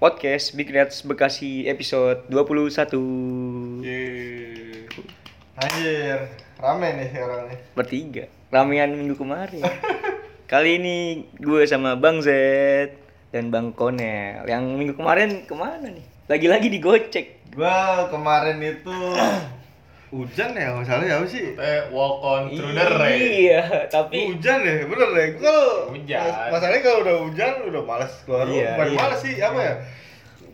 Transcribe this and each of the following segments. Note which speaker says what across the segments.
Speaker 1: Podcast Big Reds Bekasi episode 21
Speaker 2: Iya. Anjir, rame nih orang nih.
Speaker 1: Bertiga Ramean minggu kemarin Kali ini gue sama Bang Z Dan Bang Konel Yang minggu kemarin kemana nih? Lagi-lagi digocek
Speaker 2: Gua kemarin itu hujan ya, masalahnya apa sih?
Speaker 3: Eh, walk on through the rain.
Speaker 1: Iya, tapi
Speaker 2: Hujan ya, bener deh. Gua Kalau
Speaker 3: Hujan.
Speaker 2: mas- masalahnya kalau udah hujan udah males keluar.
Speaker 1: Iya,
Speaker 2: rumah. Bukan
Speaker 1: iya.
Speaker 2: males sih, apa ya?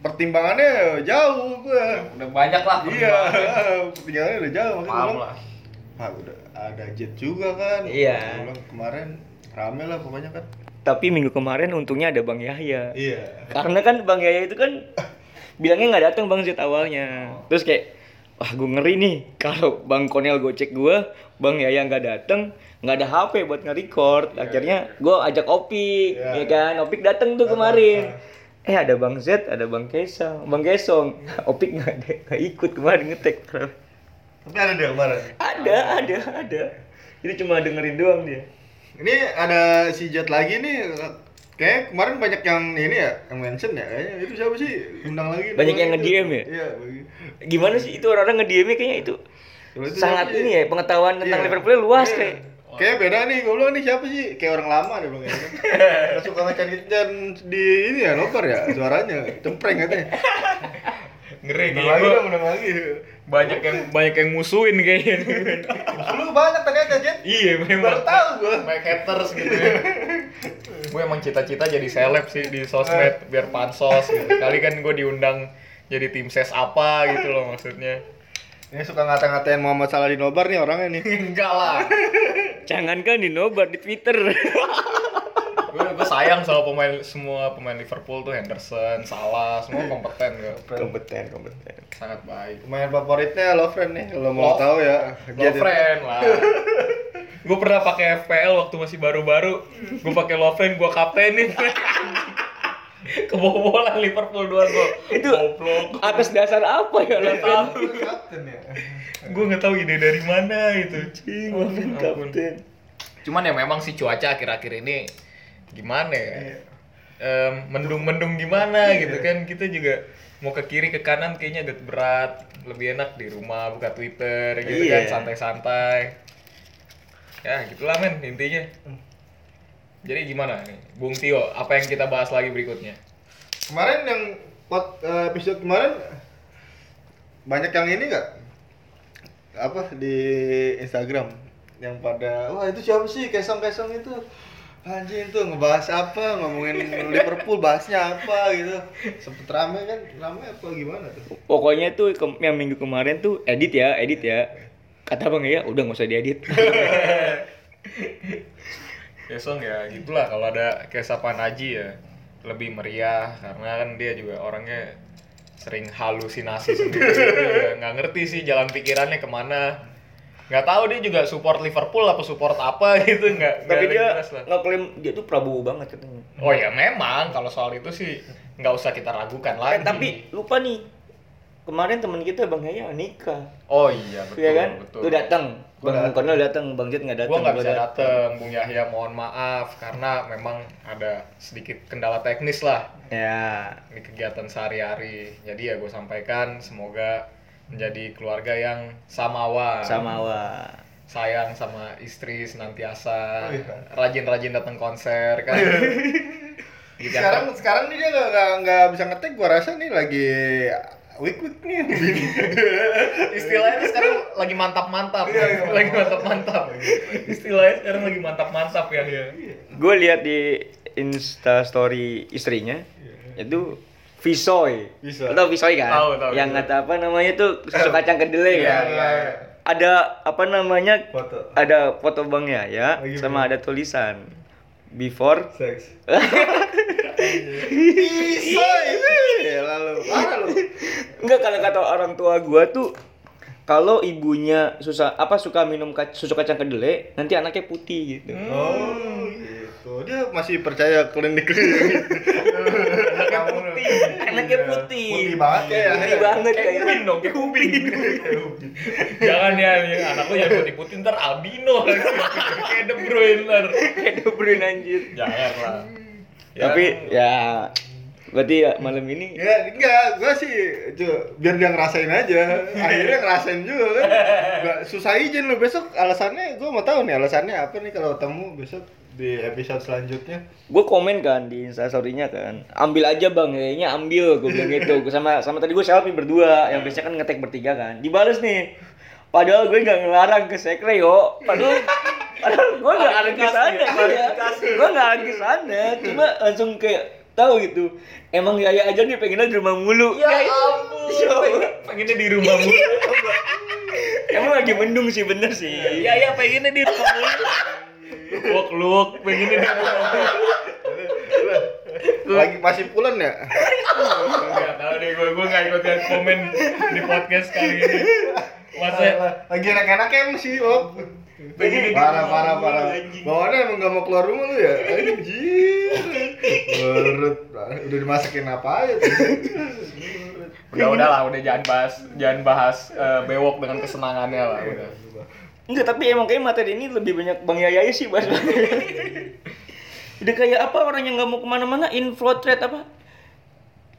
Speaker 2: Pertimbangannya jauh gua.
Speaker 3: Udah banyak lah.
Speaker 2: Iya, pertimbangannya udah jauh. Maksudnya
Speaker 3: Paham
Speaker 2: gua bilang,
Speaker 3: lah.
Speaker 2: "Ah, udah ada jet juga kan.
Speaker 1: Iya.
Speaker 2: Gua bilang, kemarin rame lah pokoknya kan.
Speaker 1: tapi minggu kemarin untungnya ada Bang Yahya
Speaker 2: Iya.
Speaker 1: Karena kan Bang Yaya itu kan bilangnya nggak datang Bang Z awalnya.
Speaker 2: Oh.
Speaker 1: Terus kayak wah gue ngeri nih kalau Bang Konel gocek gua, Bang Yaya nggak datang, nggak ada HP buat nge-record. Akhirnya gua ajak Opik, ya
Speaker 2: Iya.
Speaker 1: kan? Opik datang tuh
Speaker 2: Datang,
Speaker 1: kemarin. Eh ada Bang Z, ada Bang Kesang, Bang Kesong. Opik nggak ada, nggak ikut kemarin ngetek.
Speaker 2: Tapi ada deh kemarin. Ah.
Speaker 1: Ada, ada, ada. Itu cuma dengerin doang dia.
Speaker 2: Ini ada si Jet lagi nih. Kayak kemarin banyak yang ini ya, yang mention ya. Kayaknya itu siapa sih? Undang lagi.
Speaker 1: Banyak yang nge-DM ya?
Speaker 2: Iya, bagi.
Speaker 1: Gimana sih itu orang-orang ngediamnya kayaknya itu
Speaker 2: Kalau itu
Speaker 1: sangat
Speaker 2: siapa sih?
Speaker 1: ini ya pengetahuan tentang
Speaker 2: Iya.
Speaker 1: Liverpool luas
Speaker 2: Iya.
Speaker 1: kayak.
Speaker 2: Kayak beda nih, gue bilang nih siapa sih? Kayak orang lama deh bang. Gak suka macan dan di ini ya loper ya suaranya, cempreng katanya.
Speaker 3: Ngeri
Speaker 2: Undang
Speaker 3: gila.
Speaker 2: lagi dong, undang lagi.
Speaker 3: Banyak yang banyak yang musuhin kayaknya.
Speaker 2: Lu banyak tadi ada Jet.
Speaker 3: iya,
Speaker 2: Baru tahu gue.
Speaker 3: Banyak haters gitu ya. gue emang cita-cita jadi seleb sih di sosmed biar pansos gitu. Kali kan gue diundang jadi tim ses apa gitu loh maksudnya.
Speaker 2: Ini suka ngata-ngatain Muhammad Salah di nobar nih orangnya nih.
Speaker 3: Enggak lah.
Speaker 1: Jangankan di nobar di Twitter.
Speaker 3: Gue gue sayang sama pemain semua pemain Liverpool tuh Henderson, Salah, semua kompeten gue.
Speaker 2: Kompeten, kompeten.
Speaker 3: Sangat baik.
Speaker 2: Pemain favoritnya Lovren nih, kalau mau
Speaker 3: Love-
Speaker 2: tahu ya.
Speaker 3: Iya,
Speaker 2: Jet.
Speaker 3: Lovren lah. gue pernah pakai FPL waktu masih baru-baru. Gue pakai Lovren, gue kaptenin. Kebobolan Liverpool 2 gol.
Speaker 1: Itu
Speaker 3: goblok.
Speaker 1: Atas dasar apa ya lo?
Speaker 3: Iya.
Speaker 2: Kapten ya.
Speaker 3: Gue nggak tahu ide dari mana itu. Cing, Cuman ya memang sih cuaca akhir-akhir ini gimana ya? Em, mendung-mendung gimana gitu kan kita juga mau ke kiri ke kanan kayaknya agak berat lebih enak di rumah buka twitter gitu
Speaker 1: Iya.
Speaker 3: kan santai-santai ya gitulah men intinya jadi gimana nih Bung Tio apa yang kita bahas lagi berikutnya
Speaker 2: Kemarin yang pot eh, episode kemarin banyak yang ini nggak apa di Instagram yang pada wah itu siapa sih kesong-kesong itu anjing tuh ngebahas apa ngomongin Liverpool bahasnya apa gitu sempet rame kan rame apa gimana tuh
Speaker 1: Pokoknya tuh ke- yang minggu kemarin tuh edit ya, edit ya. Kata Bang ya, udah nggak usah diedit.
Speaker 3: besok ya gitulah kalau ada kesapan Aji ya lebih meriah karena kan dia juga orangnya sering halusinasi sendiri Dia nggak ngerti sih jalan pikirannya kemana nggak tahu dia juga support Liverpool apa support apa gitu nggak nggak
Speaker 1: Tapi
Speaker 3: ada yang
Speaker 1: dia
Speaker 3: jelas lah.
Speaker 1: ngeklaim dia tuh Prabowo banget katanya. Eh,
Speaker 3: oh ya memang kalau soal itu sih nggak usah kita ragukan
Speaker 1: Eh,
Speaker 3: lagi
Speaker 1: tapi lupa nih. Kemarin teman kita Bang Yaya nikah.
Speaker 3: oh iya betul
Speaker 1: Iya kan?
Speaker 3: betul
Speaker 1: Lu datang.
Speaker 2: Gua
Speaker 1: Bang
Speaker 2: datang.
Speaker 1: Konel datang, Bang Jet nggak
Speaker 3: Gua
Speaker 1: datang.
Speaker 3: nggak
Speaker 1: gua
Speaker 3: bisa
Speaker 1: datang.
Speaker 3: datang Bung Yahya mohon maaf karena memang ada sedikit kendala teknis lah
Speaker 1: Ya.
Speaker 3: di kegiatan sehari-hari. Jadi ya gue sampaikan semoga menjadi keluarga yang samawa,
Speaker 1: Sama wah.
Speaker 3: sayang sama istri
Speaker 2: Oh,
Speaker 3: senantiasa,
Speaker 2: iya.
Speaker 3: rajin-rajin datang konser kan. Gitu Di
Speaker 2: sekarang
Speaker 3: Jakarta-
Speaker 2: sekarang nih dia nggak- nggak nggak bisa ngetek gua rasa nih lagi week week nih
Speaker 3: istilahnya tuh sekarang lagi mantap-mantap, lagi mantap-mantap. iya. istilahnya sekarang lagi mantap-mantap ya.
Speaker 1: Gue lihat di Insta story istrinya itu Visoy.
Speaker 2: Visoy.
Speaker 1: Lo Tau Visoy kan?
Speaker 3: Tahu, tahu,
Speaker 1: Yang
Speaker 3: Visoy.
Speaker 1: kata apa namanya tuh susu kacang kedelai
Speaker 3: Iya,
Speaker 1: kan?
Speaker 3: iya.
Speaker 1: Ada apa namanya?
Speaker 2: foto
Speaker 1: Ada foto Bang Yaya
Speaker 2: Lagi
Speaker 1: sama ada tulisan before
Speaker 2: Seks. Bisa. Ya lalu. Parah lu.
Speaker 1: Enggak kalau kata orang tua gua tuh kalau ibunya susah apa suka minum kac- susu kacang kedelai, nanti anaknya putih gitu.
Speaker 2: Oh, gitu. Dia masih percaya klinik-klinik.
Speaker 3: Anaknya putih.
Speaker 1: Anaknya putih. Iya.
Speaker 2: Iya. Putih banget ya.
Speaker 1: Putih banget
Speaker 3: Kayak
Speaker 1: kayak.
Speaker 3: ubin dong, kayak ubin. Jangan ya, ya, anak lu yang putih-putih ntar albino. Kayak The Bruyne. ntar.
Speaker 1: Kayak De Bruyne anjir.
Speaker 3: Jangan lah.
Speaker 1: Tapi ya berarti ya malam ini
Speaker 2: Ya enggak, gua sih cu, biar dia ngerasain aja. Akhirnya ngerasain juga kan. Gak susah izin lu besok alasannya gua mau tahu nih alasannya apa nih kalau ketemu besok di episode selanjutnya.
Speaker 1: gue komen kan di instastorynya kan ambil aja bang kayaknya ambil gue bilang gitu Gua sama sama tadi gue selfie berdua yang biasanya kan ngetek bertiga kan dibales nih padahal gue nggak ngelarang ke sekre yo padahal padahal gue nggak arah ke sana iya. gue nggak arah ke sana cuma langsung kayak tahu gitu emang yaya aja nih pengennya di rumah mulu ya
Speaker 3: ampun. Pengennya di rumah mulu.
Speaker 1: emang lagi mendung sih bener sih
Speaker 3: Iya, iya pengennya di rumah mulu. Wok luk, pengennya di rumah mulu.
Speaker 2: Lagi masih pulen ya?
Speaker 3: Gak tau deh, gue gue gak ikutin komen di podcast kali ini. Masa
Speaker 2: Lagi enak-enaknya sih, Op.
Speaker 3: Pengen di
Speaker 2: Parah,
Speaker 3: rumah
Speaker 2: parah,
Speaker 3: mulu,
Speaker 2: parah.
Speaker 3: anjing.
Speaker 2: Bawaannya emang gak mau keluar rumah lu ya? Anjir. Berut. Udah dimasakin apa aja tuh.
Speaker 3: udah udah lah, udah jangan bahas jangan bahas eh, bewok dengan kesenangannya lah udah.
Speaker 1: Enggak, tapi emang kayak materi ini lebih banyak Bang Yayai sih bahas. Udah kayak apa orang yang nggak mau kemana-mana infiltrate apa?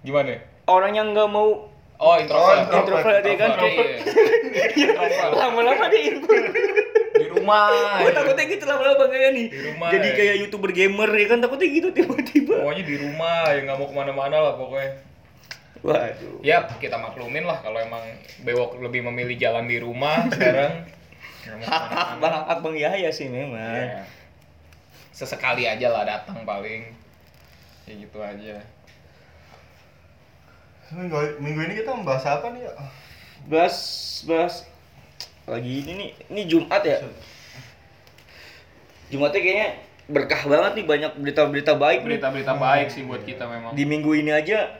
Speaker 3: Gimana?
Speaker 1: Orang yang nggak mau
Speaker 3: Oh, introvert.
Speaker 2: Oh,
Speaker 1: introvert ya kan
Speaker 3: Introvert,
Speaker 1: kayak
Speaker 3: iya. Introvert.
Speaker 1: lama-lama dia infiltrate.
Speaker 3: Di rumah. iya.
Speaker 1: Gue takutnya gitu lama-lama Bang Yayai nih.
Speaker 3: Di rumah,
Speaker 1: Jadi
Speaker 3: ya.
Speaker 1: kayak youtuber gamer ya kan takutnya gitu tiba-tiba.
Speaker 3: Pokoknya di rumah, ya nggak mau kemana-mana lah pokoknya.
Speaker 1: Waduh.
Speaker 3: Ya, kita maklumin lah kalau emang bewok lebih memilih jalan di rumah sekarang. Nggak mau
Speaker 1: Hak
Speaker 3: kemana-mana.
Speaker 1: Bang hak Bang Yaya sih memang.
Speaker 3: Ya. Sesekali aja lah datang paling. Ya gitu aja.
Speaker 2: Minggu, minggu ini kita membahas apa nih? ya?
Speaker 1: Bahas bahas lagi ini nih, ini Jumat ya. Jumatnya kayaknya berkah banget nih banyak berita-berita baik nih.
Speaker 3: Berita-berita baik sih buat kita
Speaker 1: Hmm.
Speaker 3: memang.
Speaker 1: di minggu ini aja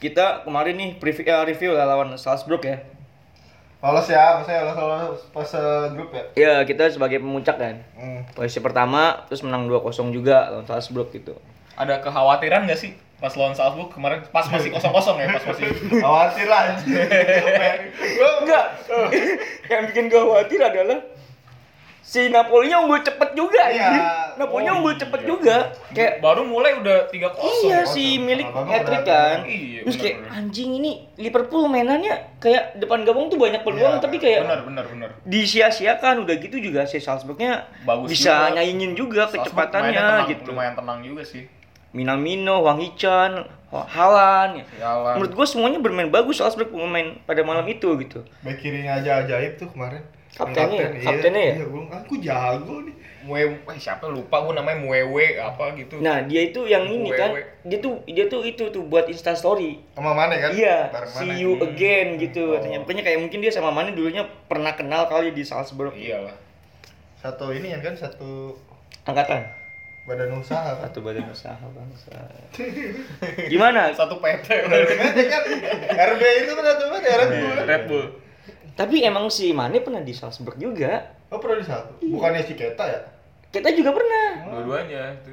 Speaker 1: kita kemarin nih preview, eh, review lah lawan Salzburg ya.
Speaker 2: Lolos ya, maksudnya lolos lolos fase grup ya.
Speaker 1: Ya kita sebagai pemuncak kan.
Speaker 2: Hmm.
Speaker 1: Posisi pertama terus menang 2-0 juga lawan Salzburg gitu.
Speaker 3: Ada kekhawatiran nggak sih pas lawan Salzburg kemarin pas masih kosong-kosong ya, pas masih
Speaker 2: Khawatir lah.
Speaker 1: Enggak. Yang bikin gua khawatir adalah si Napoli-nya unggul cepet juga
Speaker 2: Iya.
Speaker 1: anjir. Napoli-nya
Speaker 3: Oh,
Speaker 1: unggul cepet
Speaker 3: iya.
Speaker 1: juga. Kayak
Speaker 3: baru mulai udah 3-0.
Speaker 1: iya si milik
Speaker 2: Abang
Speaker 1: hat-trick kan.
Speaker 2: berharap.
Speaker 3: Iya,
Speaker 1: Terus kayak
Speaker 3: benar-benar.
Speaker 1: anjing ini Liverpool mainannya kayak depan gawang tuh banyak peluang
Speaker 2: Iya,
Speaker 1: tapi kayak
Speaker 3: Benar, benar, benar.
Speaker 1: disia-siakan udah gitu juga si Salzburgnya
Speaker 3: Bagus
Speaker 1: bisa
Speaker 3: juga.
Speaker 1: nyaingin juga
Speaker 3: Salzburg
Speaker 1: kecepatannya
Speaker 3: mainnya tenang,
Speaker 1: gitu.
Speaker 3: Lumayan tenang juga sih.
Speaker 1: Minamino, Wang Hichan, Halan.
Speaker 3: Haaland.
Speaker 1: Menurut gue semuanya bermain bagus Salzburg pemain pada malam itu gitu.
Speaker 2: Back kirinya aja ajaib tuh kemarin.
Speaker 1: Kaptennya,
Speaker 2: Kapten, iya.
Speaker 1: kaptennya ya?
Speaker 2: Iya, gua bilang, aku jago nih.
Speaker 3: Mue, eh, siapa lupa gue namanya Muewe apa gitu.
Speaker 1: Nah, dia itu yang ini
Speaker 3: Wewe.
Speaker 1: kan, dia tuh dia tuh itu tuh buat Insta story.
Speaker 2: Sama mana kan?
Speaker 1: Iya,
Speaker 2: Bareng mana?
Speaker 1: see you
Speaker 3: Hmm.
Speaker 1: again
Speaker 3: Oh.
Speaker 1: gitu katanya. Pokoknya kayak mungkin dia sama Mane dulunya pernah kenal kali di Salzburg
Speaker 3: Iyalah.
Speaker 2: Satu ini ya kan satu
Speaker 1: angkatan.
Speaker 2: badan usaha kan.
Speaker 1: Satu badan usaha bangsa. Gimana?
Speaker 3: Satu PT
Speaker 2: Ada kan RB itu kan satu kan RB.
Speaker 3: Iya, Red Bull.
Speaker 1: Tapi emang si Mane pernah di Salzburg juga.
Speaker 2: Oh, pernah di satu. Bukannya si Keta ya?
Speaker 1: Kita juga pernah.
Speaker 3: Dua-duanya itu.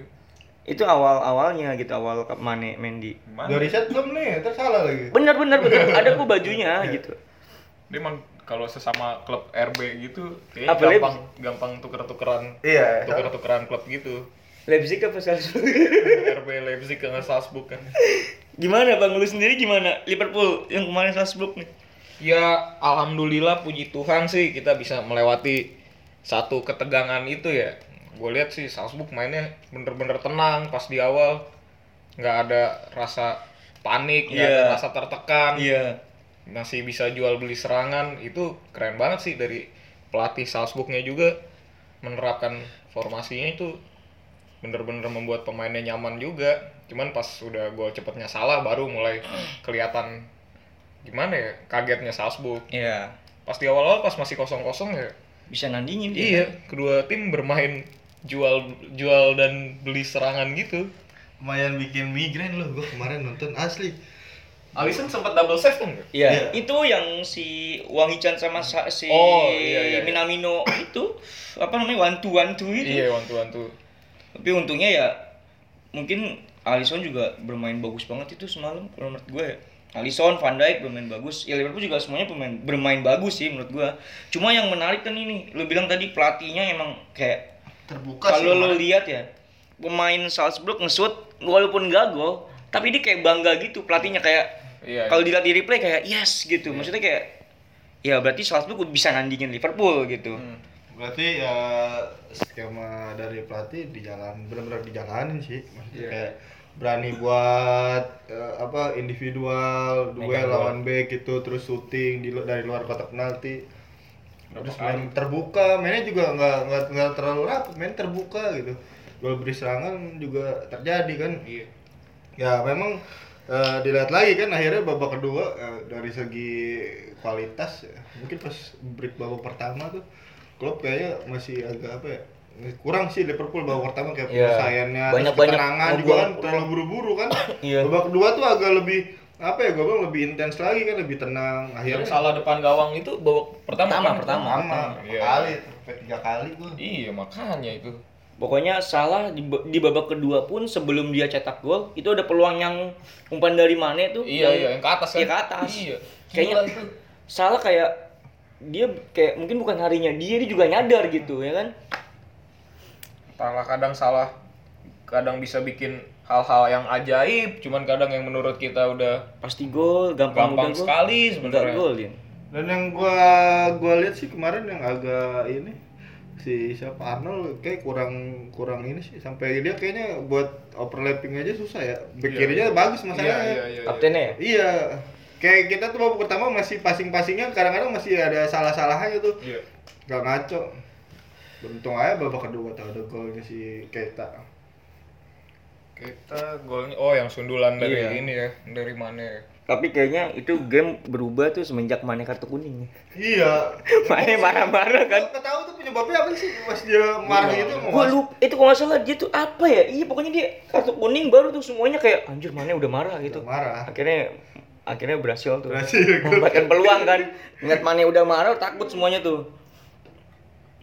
Speaker 1: Itu awal-awalnya gitu, awal ke Mane main di
Speaker 3: Gimana?
Speaker 2: Udah riset belum nih? Terus salah lagi.
Speaker 1: Bener bener bener, ada kok bajunya gitu.
Speaker 3: Dia emang kalau sesama klub RB gitu, kayaknya
Speaker 1: Apalagi-
Speaker 3: gampang gampang tuker-tukeran.
Speaker 2: Iya.
Speaker 3: Tuker-tukeran klub gitu.
Speaker 1: Leipzig apa Salzburg?
Speaker 3: RB Leipzig ke Salzburg kan.
Speaker 1: gimana bang lu sendiri gimana Liverpool yang kemarin Salzburg nih?
Speaker 3: Ya, alhamdulillah puji Tuhan sih kita bisa melewati satu ketegangan itu ya. Gue lihat sih Salzburg mainnya bener-bener tenang pas di awal. Nggak ada rasa panik, nggak
Speaker 1: Iya.
Speaker 3: ada rasa tertekan.
Speaker 1: Iya.
Speaker 3: Masih bisa jual beli serangan. Itu keren banget sih dari pelatih Salzburgnya juga menerapkan formasinya itu bener-bener membuat pemainnya nyaman juga. Cuman pas udah gol cepetnya salah baru mulai kelihatan gimana ya kagetnya Salzburg
Speaker 1: Iya.
Speaker 3: pas di awal-awal pas masih kosong-kosong ya
Speaker 1: Bisa nandingin dia.
Speaker 3: iya kedua tim bermain jual jual dan beli serangan gitu.
Speaker 2: lumayan bikin migrain loh gua kemarin nonton asli
Speaker 3: Alisson sempat double save kan? nggak?
Speaker 1: Iya,
Speaker 2: Iya.
Speaker 1: itu yang si Wangi Chan sama sa- si
Speaker 3: Oh, iya, iya, iya.
Speaker 1: Minamino itu apa namanya one to one to itu.
Speaker 3: Iya, wantu wantu.
Speaker 1: Tapi untungnya ya mungkin Alisson juga bermain bagus banget itu semalam kalau menurut gue. ya. Alisson, Van Dijk bermain bagus. Ya Liverpool juga semuanya pemain bermain bagus sih menurut gue. Cuma yang menarik kan ini, lu bilang tadi pelatihnya emang kayak
Speaker 2: terbuka sih
Speaker 1: kalau lo
Speaker 2: kemarin.
Speaker 1: lihat ya pemain Salzburg ngesut walaupun gak gol tapi dia kayak bangga gitu pelatihnya kayak
Speaker 3: Iya.
Speaker 1: kalau dilihat di replay kayak yes gitu maksudnya kayak ya berarti Salzburg bisa nandingin Liverpool gitu
Speaker 3: Hmm.
Speaker 2: berarti ya skema dari pelatih di jalan benar-benar dijalanin sih maksudnya
Speaker 3: Iya.
Speaker 2: kayak berani buat eh, apa individual duel
Speaker 3: Megang
Speaker 2: lawan back gitu terus shooting di lu- dari luar kotak penalti
Speaker 3: Berapa
Speaker 2: terus main terbuka mainnya juga nggak nggak nggak terlalu rapat main terbuka gitu gol beri serangan juga terjadi kan
Speaker 3: Iya.
Speaker 2: ya memang eh, dilihat lagi kan akhirnya babak kedua eh, dari segi kualitas ya, mungkin pas break babak pertama tuh klub kayaknya masih agak apa ya kurang sih Liverpool babak pertama kayak
Speaker 3: Iya.
Speaker 2: penyelesaiannya terus
Speaker 1: Banyak-banyak
Speaker 2: ketenangan juga
Speaker 1: ngobrol.
Speaker 2: kan terlalu buru-buru kan
Speaker 1: Iya.
Speaker 2: babak kedua tuh agak lebih apa ya gue bilang lebih intens lagi kan lebih tenang
Speaker 3: Yang
Speaker 2: akhirnya
Speaker 3: salah depan gawang itu babak pertama.
Speaker 1: Pertama,
Speaker 3: kan?
Speaker 1: pertama.
Speaker 2: lama
Speaker 3: Iya.
Speaker 2: kali sampai tiga kali gue
Speaker 3: Iya, makanya itu.
Speaker 1: pokoknya salah di, ba- di babak kedua pun sebelum dia cetak gol itu ada peluang yang umpan dari Mane tuh
Speaker 3: Iya, iya, yang ke atas kan?
Speaker 1: Iya, ke atas.
Speaker 3: Iya.
Speaker 1: Kayaknya-
Speaker 3: Gila itu.
Speaker 1: salah kayak dia kayak mungkin bukan harinya dia dia juga nyadar gitu ya kan
Speaker 3: Salah kadang salah kadang bisa bikin hal-hal yang ajaib, cuman kadang yang menurut kita udah
Speaker 1: pasti gol gampang,
Speaker 3: gampang
Speaker 1: udah gol
Speaker 3: sekali
Speaker 1: Nggak
Speaker 3: sebenarnya. Iya,
Speaker 1: gol Din.
Speaker 2: Dan yang gua gua lihat sih kemarin yang agak ini si siapa Arnold kayak kurang kurang ini sih sampai dia kayaknya buat overlapping aja susah ya. Back
Speaker 3: Iya.
Speaker 2: kirinya bagus
Speaker 3: Iya,
Speaker 2: masalahnya.
Speaker 3: iya,
Speaker 2: Iya,
Speaker 3: iya.
Speaker 1: kaptennya ya
Speaker 2: Kayak kita tuh babak pertama masih passing-passingnya kadang-kadang masih ada salah-salahnya tuh.
Speaker 3: Iya.
Speaker 2: Gak ngaco. Beruntung aja babak kedua tau ada golnya si Keita.
Speaker 3: Kita golnya oh yang sundulan dari
Speaker 1: Iya.
Speaker 3: ini ya, dari mana ya?
Speaker 1: tapi kayaknya itu game berubah tuh semenjak Mane kartu kuning ya.
Speaker 2: Iya.
Speaker 1: Mane marah-marah kan
Speaker 2: Gak tahu tuh penyebabnya apa sih pas dia marah
Speaker 3: Iya.
Speaker 2: gitu mau
Speaker 1: gua lupa itu kalau nggak salah dia tuh apa ya iya pokoknya dia kartu kuning baru tuh semuanya kayak anjir Mane udah marah gitu
Speaker 2: marah.
Speaker 1: akhirnya akhirnya berhasil tuh
Speaker 2: Berhasil.
Speaker 1: memanfaatkan peluang kan ngeliat Mane udah marah takut semuanya tuh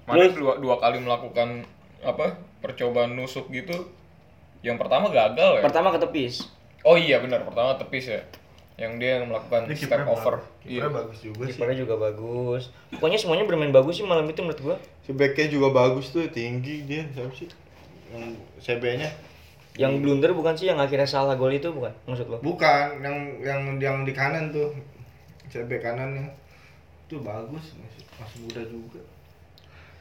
Speaker 3: Mana dua, dua kali melakukan apa? Percobaan nusuk gitu. Yang pertama gagal ya.
Speaker 1: pertama ketepis
Speaker 3: oh iya benar, pertama tepis ya. Yang dia yang
Speaker 2: Ini
Speaker 3: melakukan step
Speaker 2: kipernya
Speaker 3: over.
Speaker 2: bagus.
Speaker 3: Iya.
Speaker 2: Kipernya bagus juga sih.
Speaker 1: kipernya juga bagus pokoknya semuanya bermain bagus sih malam itu menurut gua
Speaker 2: Si backnya juga bagus tuh, tinggi dia, siapa sih? Yang CB-nya?
Speaker 1: yang blunder bukan sih yang akhirnya salah gol itu bukan maksud lo
Speaker 2: Bukan, yang yang yang di kanan tuh. CB kanannya. Itu bagus, masih, masih muda juga.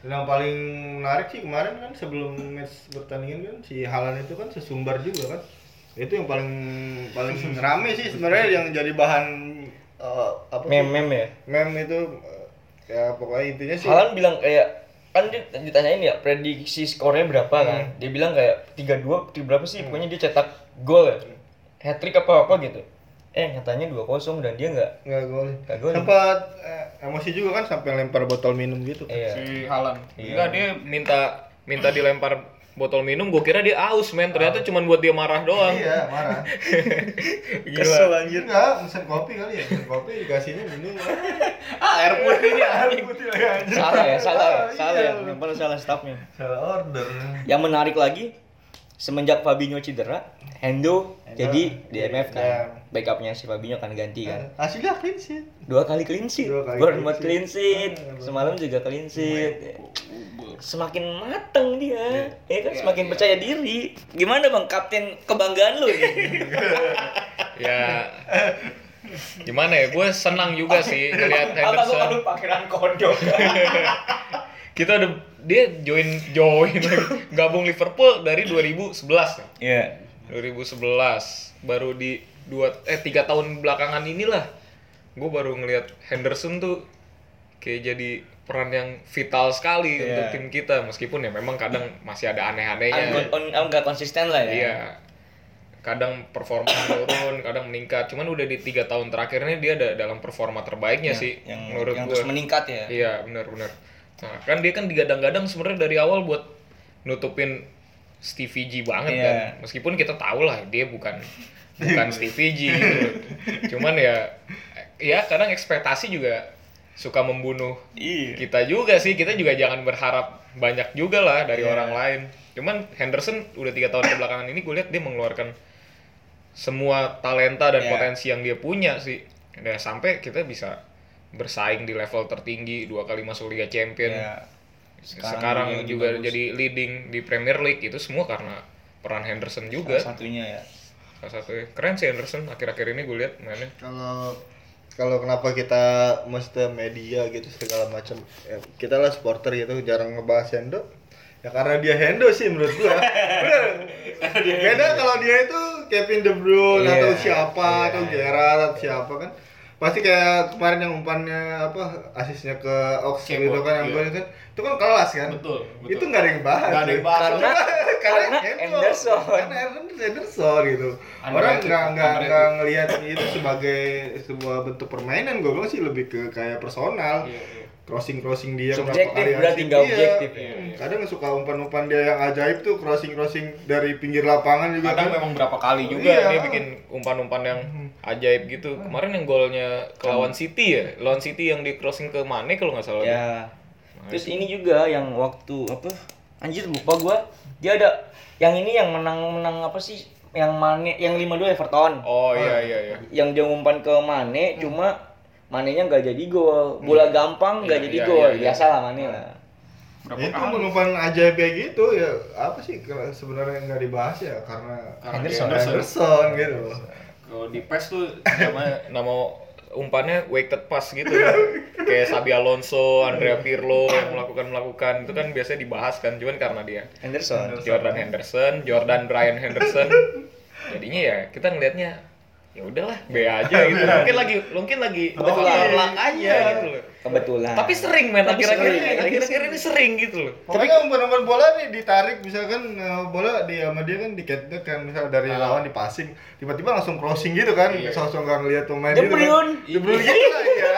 Speaker 2: Dan yang paling menarik sih kemarin kan sebelum match pertandingan kan si Halan itu kan sesumbar juga kan. Itu yang paling paling rame sih sebenarnya yang jadi bahan eh, apa sih?
Speaker 1: mem mem ya
Speaker 2: Meme itu eh, ya pokoknya intinya sih
Speaker 1: Halan bilang kayak kan dia ditanyain ya prediksi skornya berapa kan dia bilang kayak 3-2 3 berapa sih pokoknya dia cetak gol ya hat trick apa apa gitu eh nyatanya 2-0 dan dia nggak
Speaker 2: nggak gol.
Speaker 1: Nggak gol.
Speaker 2: Sempat eh, emosi juga kan sampai lempar botol minum gitu.
Speaker 1: iya
Speaker 3: Si Halan. Enggak dia minta minta dilempar botol minum, gua kira dia aus men, ternyata cuma buat dia marah doang.
Speaker 2: Iya, marah.
Speaker 3: Gila.
Speaker 2: anjir. Enggak, pesen kopi kali ya. Pesen kopi dikasihnya minum.
Speaker 3: Ah, air putih nih.
Speaker 2: Air putih lagi anjir.
Speaker 1: salah ya salah ya
Speaker 2: Ah,
Speaker 1: salah ya
Speaker 2: iya.
Speaker 1: yang paling salah staffnya
Speaker 2: Salah order.
Speaker 1: yang menarik lagi semenjak Fabinho cedera Hendo jadi DMF kan
Speaker 2: Iya.
Speaker 1: backupnya si Fabinho kan ganti kan
Speaker 2: Hasilnya clean sheet.
Speaker 1: dua kali clean sheet
Speaker 2: Nah. Dua kali
Speaker 1: Bournemouth
Speaker 2: clean
Speaker 1: clean sheet
Speaker 2: Ah,
Speaker 1: semalam juga clean sheet semakin mateng
Speaker 2: Nah.
Speaker 1: dia ya
Speaker 2: Iya,
Speaker 1: kan semakin percaya diri gimana bang kapten kebanggaan lu nih
Speaker 3: ya gimana ya gue senang juga sih ngeliat
Speaker 1: apa gua
Speaker 3: Henderson
Speaker 1: baru pangeran kodok
Speaker 3: kita udah dia join join lagi. gabung Liverpool dari 2011 ya?
Speaker 1: Iya
Speaker 3: 2011 baru di dua eh tiga tahun belakangan inilah gue baru ngeliat Henderson tuh kayak jadi peran yang vital sekali
Speaker 1: Iya.
Speaker 3: untuk tim kita meskipun ya memang kadang masih ada aneh-anehnya
Speaker 1: Angkut- on- on- nggak konsisten lah ya
Speaker 3: Iya. Kadang performa turun, kadang meningkat. Cuman udah di tiga tahun terakhirnya dia ada dalam performa terbaiknya sih
Speaker 1: Iya, yang
Speaker 3: menurut
Speaker 1: yang
Speaker 3: gua.
Speaker 1: terus meningkat ya
Speaker 3: Iya, benar benar. Nah, kan dia kan digadang-gadang sebenarnya dari awal buat nutupin Stevie G banget
Speaker 1: Iya.
Speaker 3: kan. Meskipun kita tahu lah dia bukan bukan Stevie G gitu. Cuman ya ya kadang ekspektasi juga suka membunuh
Speaker 1: Iya.
Speaker 3: kita juga sih. Kita juga jangan berharap banyak juga lah
Speaker 1: Iya.
Speaker 3: dari orang lain. Cuman Henderson udah tiga tahun kebelakangan ini gue lihat dia mengeluarkan semua talenta dan
Speaker 1: Iya.
Speaker 3: potensi yang dia punya sih. Nah, sampai kita bisa bersaing di level tertinggi dua kali masuk Liga Champion
Speaker 1: Ya.
Speaker 3: sekarang,
Speaker 1: dia lagi
Speaker 3: juga
Speaker 1: bagus.
Speaker 3: jadi leading di Premier League itu semua karena peran Henderson juga
Speaker 1: Salah satunya ya.
Speaker 3: salah satu keren sih Henderson akhir-akhir ini gue lihat mainnya
Speaker 2: kalau kalau kenapa kita mesti media gitu segala macam ya, kita lah supporter gitu jarang ngebahas Hendo ya karena dia Hendo sih menurut gua Bener. beda kalau dia itu Kevin De Bruyne
Speaker 3: Iya.
Speaker 2: atau siapa atau Gerrard atau siapa kan pasti kayak kemarin yang umpannya apa asisnya ke Ox
Speaker 4: Cebol,
Speaker 2: gitu kan yang
Speaker 4: iya.
Speaker 2: gol itu kan itu kan kelas kan
Speaker 4: Betul, betul.
Speaker 2: itu nggak ada yang bahas
Speaker 4: Nggak ada yang bahas.
Speaker 2: karena karena,
Speaker 1: karena Henderson.
Speaker 2: karena Henderson gitu orang
Speaker 4: Underrated,
Speaker 2: nggak nggak
Speaker 4: underrated.
Speaker 2: nggak ngelihat itu sebagai sebuah bentuk permainan gue bilang sih lebih ke kayak personal
Speaker 4: Iya, iya.
Speaker 2: crossing crossing dia berapa
Speaker 1: Subjektif,
Speaker 2: kali
Speaker 1: berarti
Speaker 2: asik,
Speaker 1: nggak
Speaker 2: iya.
Speaker 1: objektif ya.
Speaker 4: Iya, iya.
Speaker 2: kadang suka umpan umpan dia yang ajaib tuh crossing crossing dari pinggir lapangan juga
Speaker 4: Kadang
Speaker 2: kan
Speaker 4: memang berapa kali juga.
Speaker 3: juga
Speaker 2: Iya.
Speaker 3: dia bikin umpan-umpan yang ajaib gitu kemarin yang golnya ke lawan City ya lawan City yang di crossing ke Mane kalau nggak salah
Speaker 1: Ya. Terus ini juga yang waktu apa? Anjir lupa gua. Dia ada yang ini yang menang-menang apa sih? Yang Mane yang 5-2 Everton.
Speaker 3: oh Hmm. iya iya iya
Speaker 1: Yang dia umpan ke Mane cuma Manenya nggak jadi gol. Bola gampang nggak
Speaker 3: Iya,
Speaker 1: jadi
Speaker 3: iya,
Speaker 1: gol.
Speaker 3: iya, iya.
Speaker 1: Biasa lah Mane lah.
Speaker 4: Berapa
Speaker 2: itu
Speaker 4: kali?
Speaker 2: umpan ajaib kayak gitu ya apa sih ke- sebenarnya nggak dibahas ya karena
Speaker 4: Karena
Speaker 2: Henderson,
Speaker 4: Henderson.
Speaker 2: Henderson gitu loh
Speaker 4: Kalau di PES tuh
Speaker 3: nama nama umpannya weighted pass gitu kayak Sabi Alonso, Andrea Pirlo yang melakukan melakukan itu kan biasanya dibahas kan cuman karena dia
Speaker 1: Henderson.
Speaker 3: Jordan Henderson, Jordan Brian Henderson. Jadinya ya kita ngelihatnya ya udahlah B aja gitu. Mungkin lagi mungkin lagi
Speaker 1: Kebetulan.
Speaker 3: faktor luck aja gitu loh.
Speaker 1: Kebetulan.
Speaker 3: Tapi sering men
Speaker 1: Tapi
Speaker 3: akhir-akhir
Speaker 1: sering.
Speaker 3: ini, akhir-akhir ini sering gitu loh.
Speaker 2: Pokoknya umpan-umpan bola nih ditarik misalkan eh, bola di sama dia kan diketek kan misal dari
Speaker 3: Ah.
Speaker 2: lawan di passing tiba-tiba langsung crossing gitu kan iya. langsung nggak ngeliat pemain
Speaker 1: De
Speaker 2: gitu kan.
Speaker 1: Bruyne.
Speaker 2: De Bruyne gitu lah ya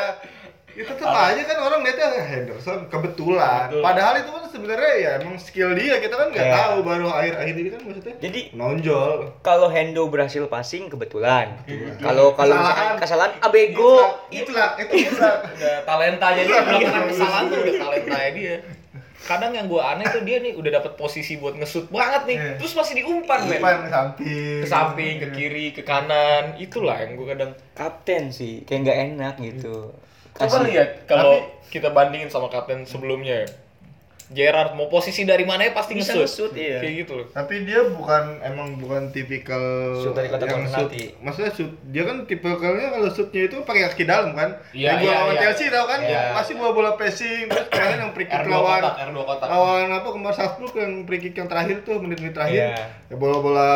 Speaker 2: itu tetap aja kan orang lihatnya "Ah, Henderson kebetulan padahal itu kan sebenarnya ya emang skill dia kita kan nggak
Speaker 1: Iya.
Speaker 2: tahu baru akhir-akhir ini kan maksudnya
Speaker 1: Jadi
Speaker 2: nonjol
Speaker 1: kalau Hendo berhasil passing kebetulan. Kalau kalau misalkan kesalahan ah,
Speaker 3: Iya.
Speaker 1: abego
Speaker 2: itu lah itu lah
Speaker 3: Udah talentanya dia belum pernah kesalahan tuh udah talentanya dia. Kadang yang gua aneh tuh dia nih udah dapet posisi buat ngesut banget nih,
Speaker 2: Iya.
Speaker 3: terus masih diumpan men.
Speaker 2: umpan ke samping
Speaker 3: Ke samping, ke kiri, ke kanan, itulah yang gua kadang
Speaker 1: kapten sih kayak nggak enak gitu.
Speaker 3: Coba
Speaker 1: Kasih-
Speaker 3: lihat kalau kita bandingin sama kapten sebelumnya ya. Gerard mau posisi dari mana ya pasti
Speaker 1: Bisa ngesut,
Speaker 3: ngesut.
Speaker 1: iya.
Speaker 3: Kayak gitu loh.
Speaker 2: tapi dia bukan emang bukan tipikal
Speaker 1: Shoot dari kotak
Speaker 2: yang
Speaker 1: penalti.
Speaker 2: shoot- maksudnya shoot dia kan tipikalnya kalau shootnya itu pakai kaki dalam kan
Speaker 4: Iya,
Speaker 2: yang gua
Speaker 4: iya,
Speaker 2: lawan
Speaker 4: iya.
Speaker 2: Chelsea tau kan
Speaker 4: Iya.
Speaker 2: pasti bola bola passing terus kemarin yang free kick
Speaker 4: R2
Speaker 2: lawan
Speaker 4: kotak, R2 kotak.
Speaker 2: lawan apa kemarin Salzburg yang free kick yang terakhir tuh menit-menit terakhir
Speaker 1: Iya.
Speaker 2: ya bola bola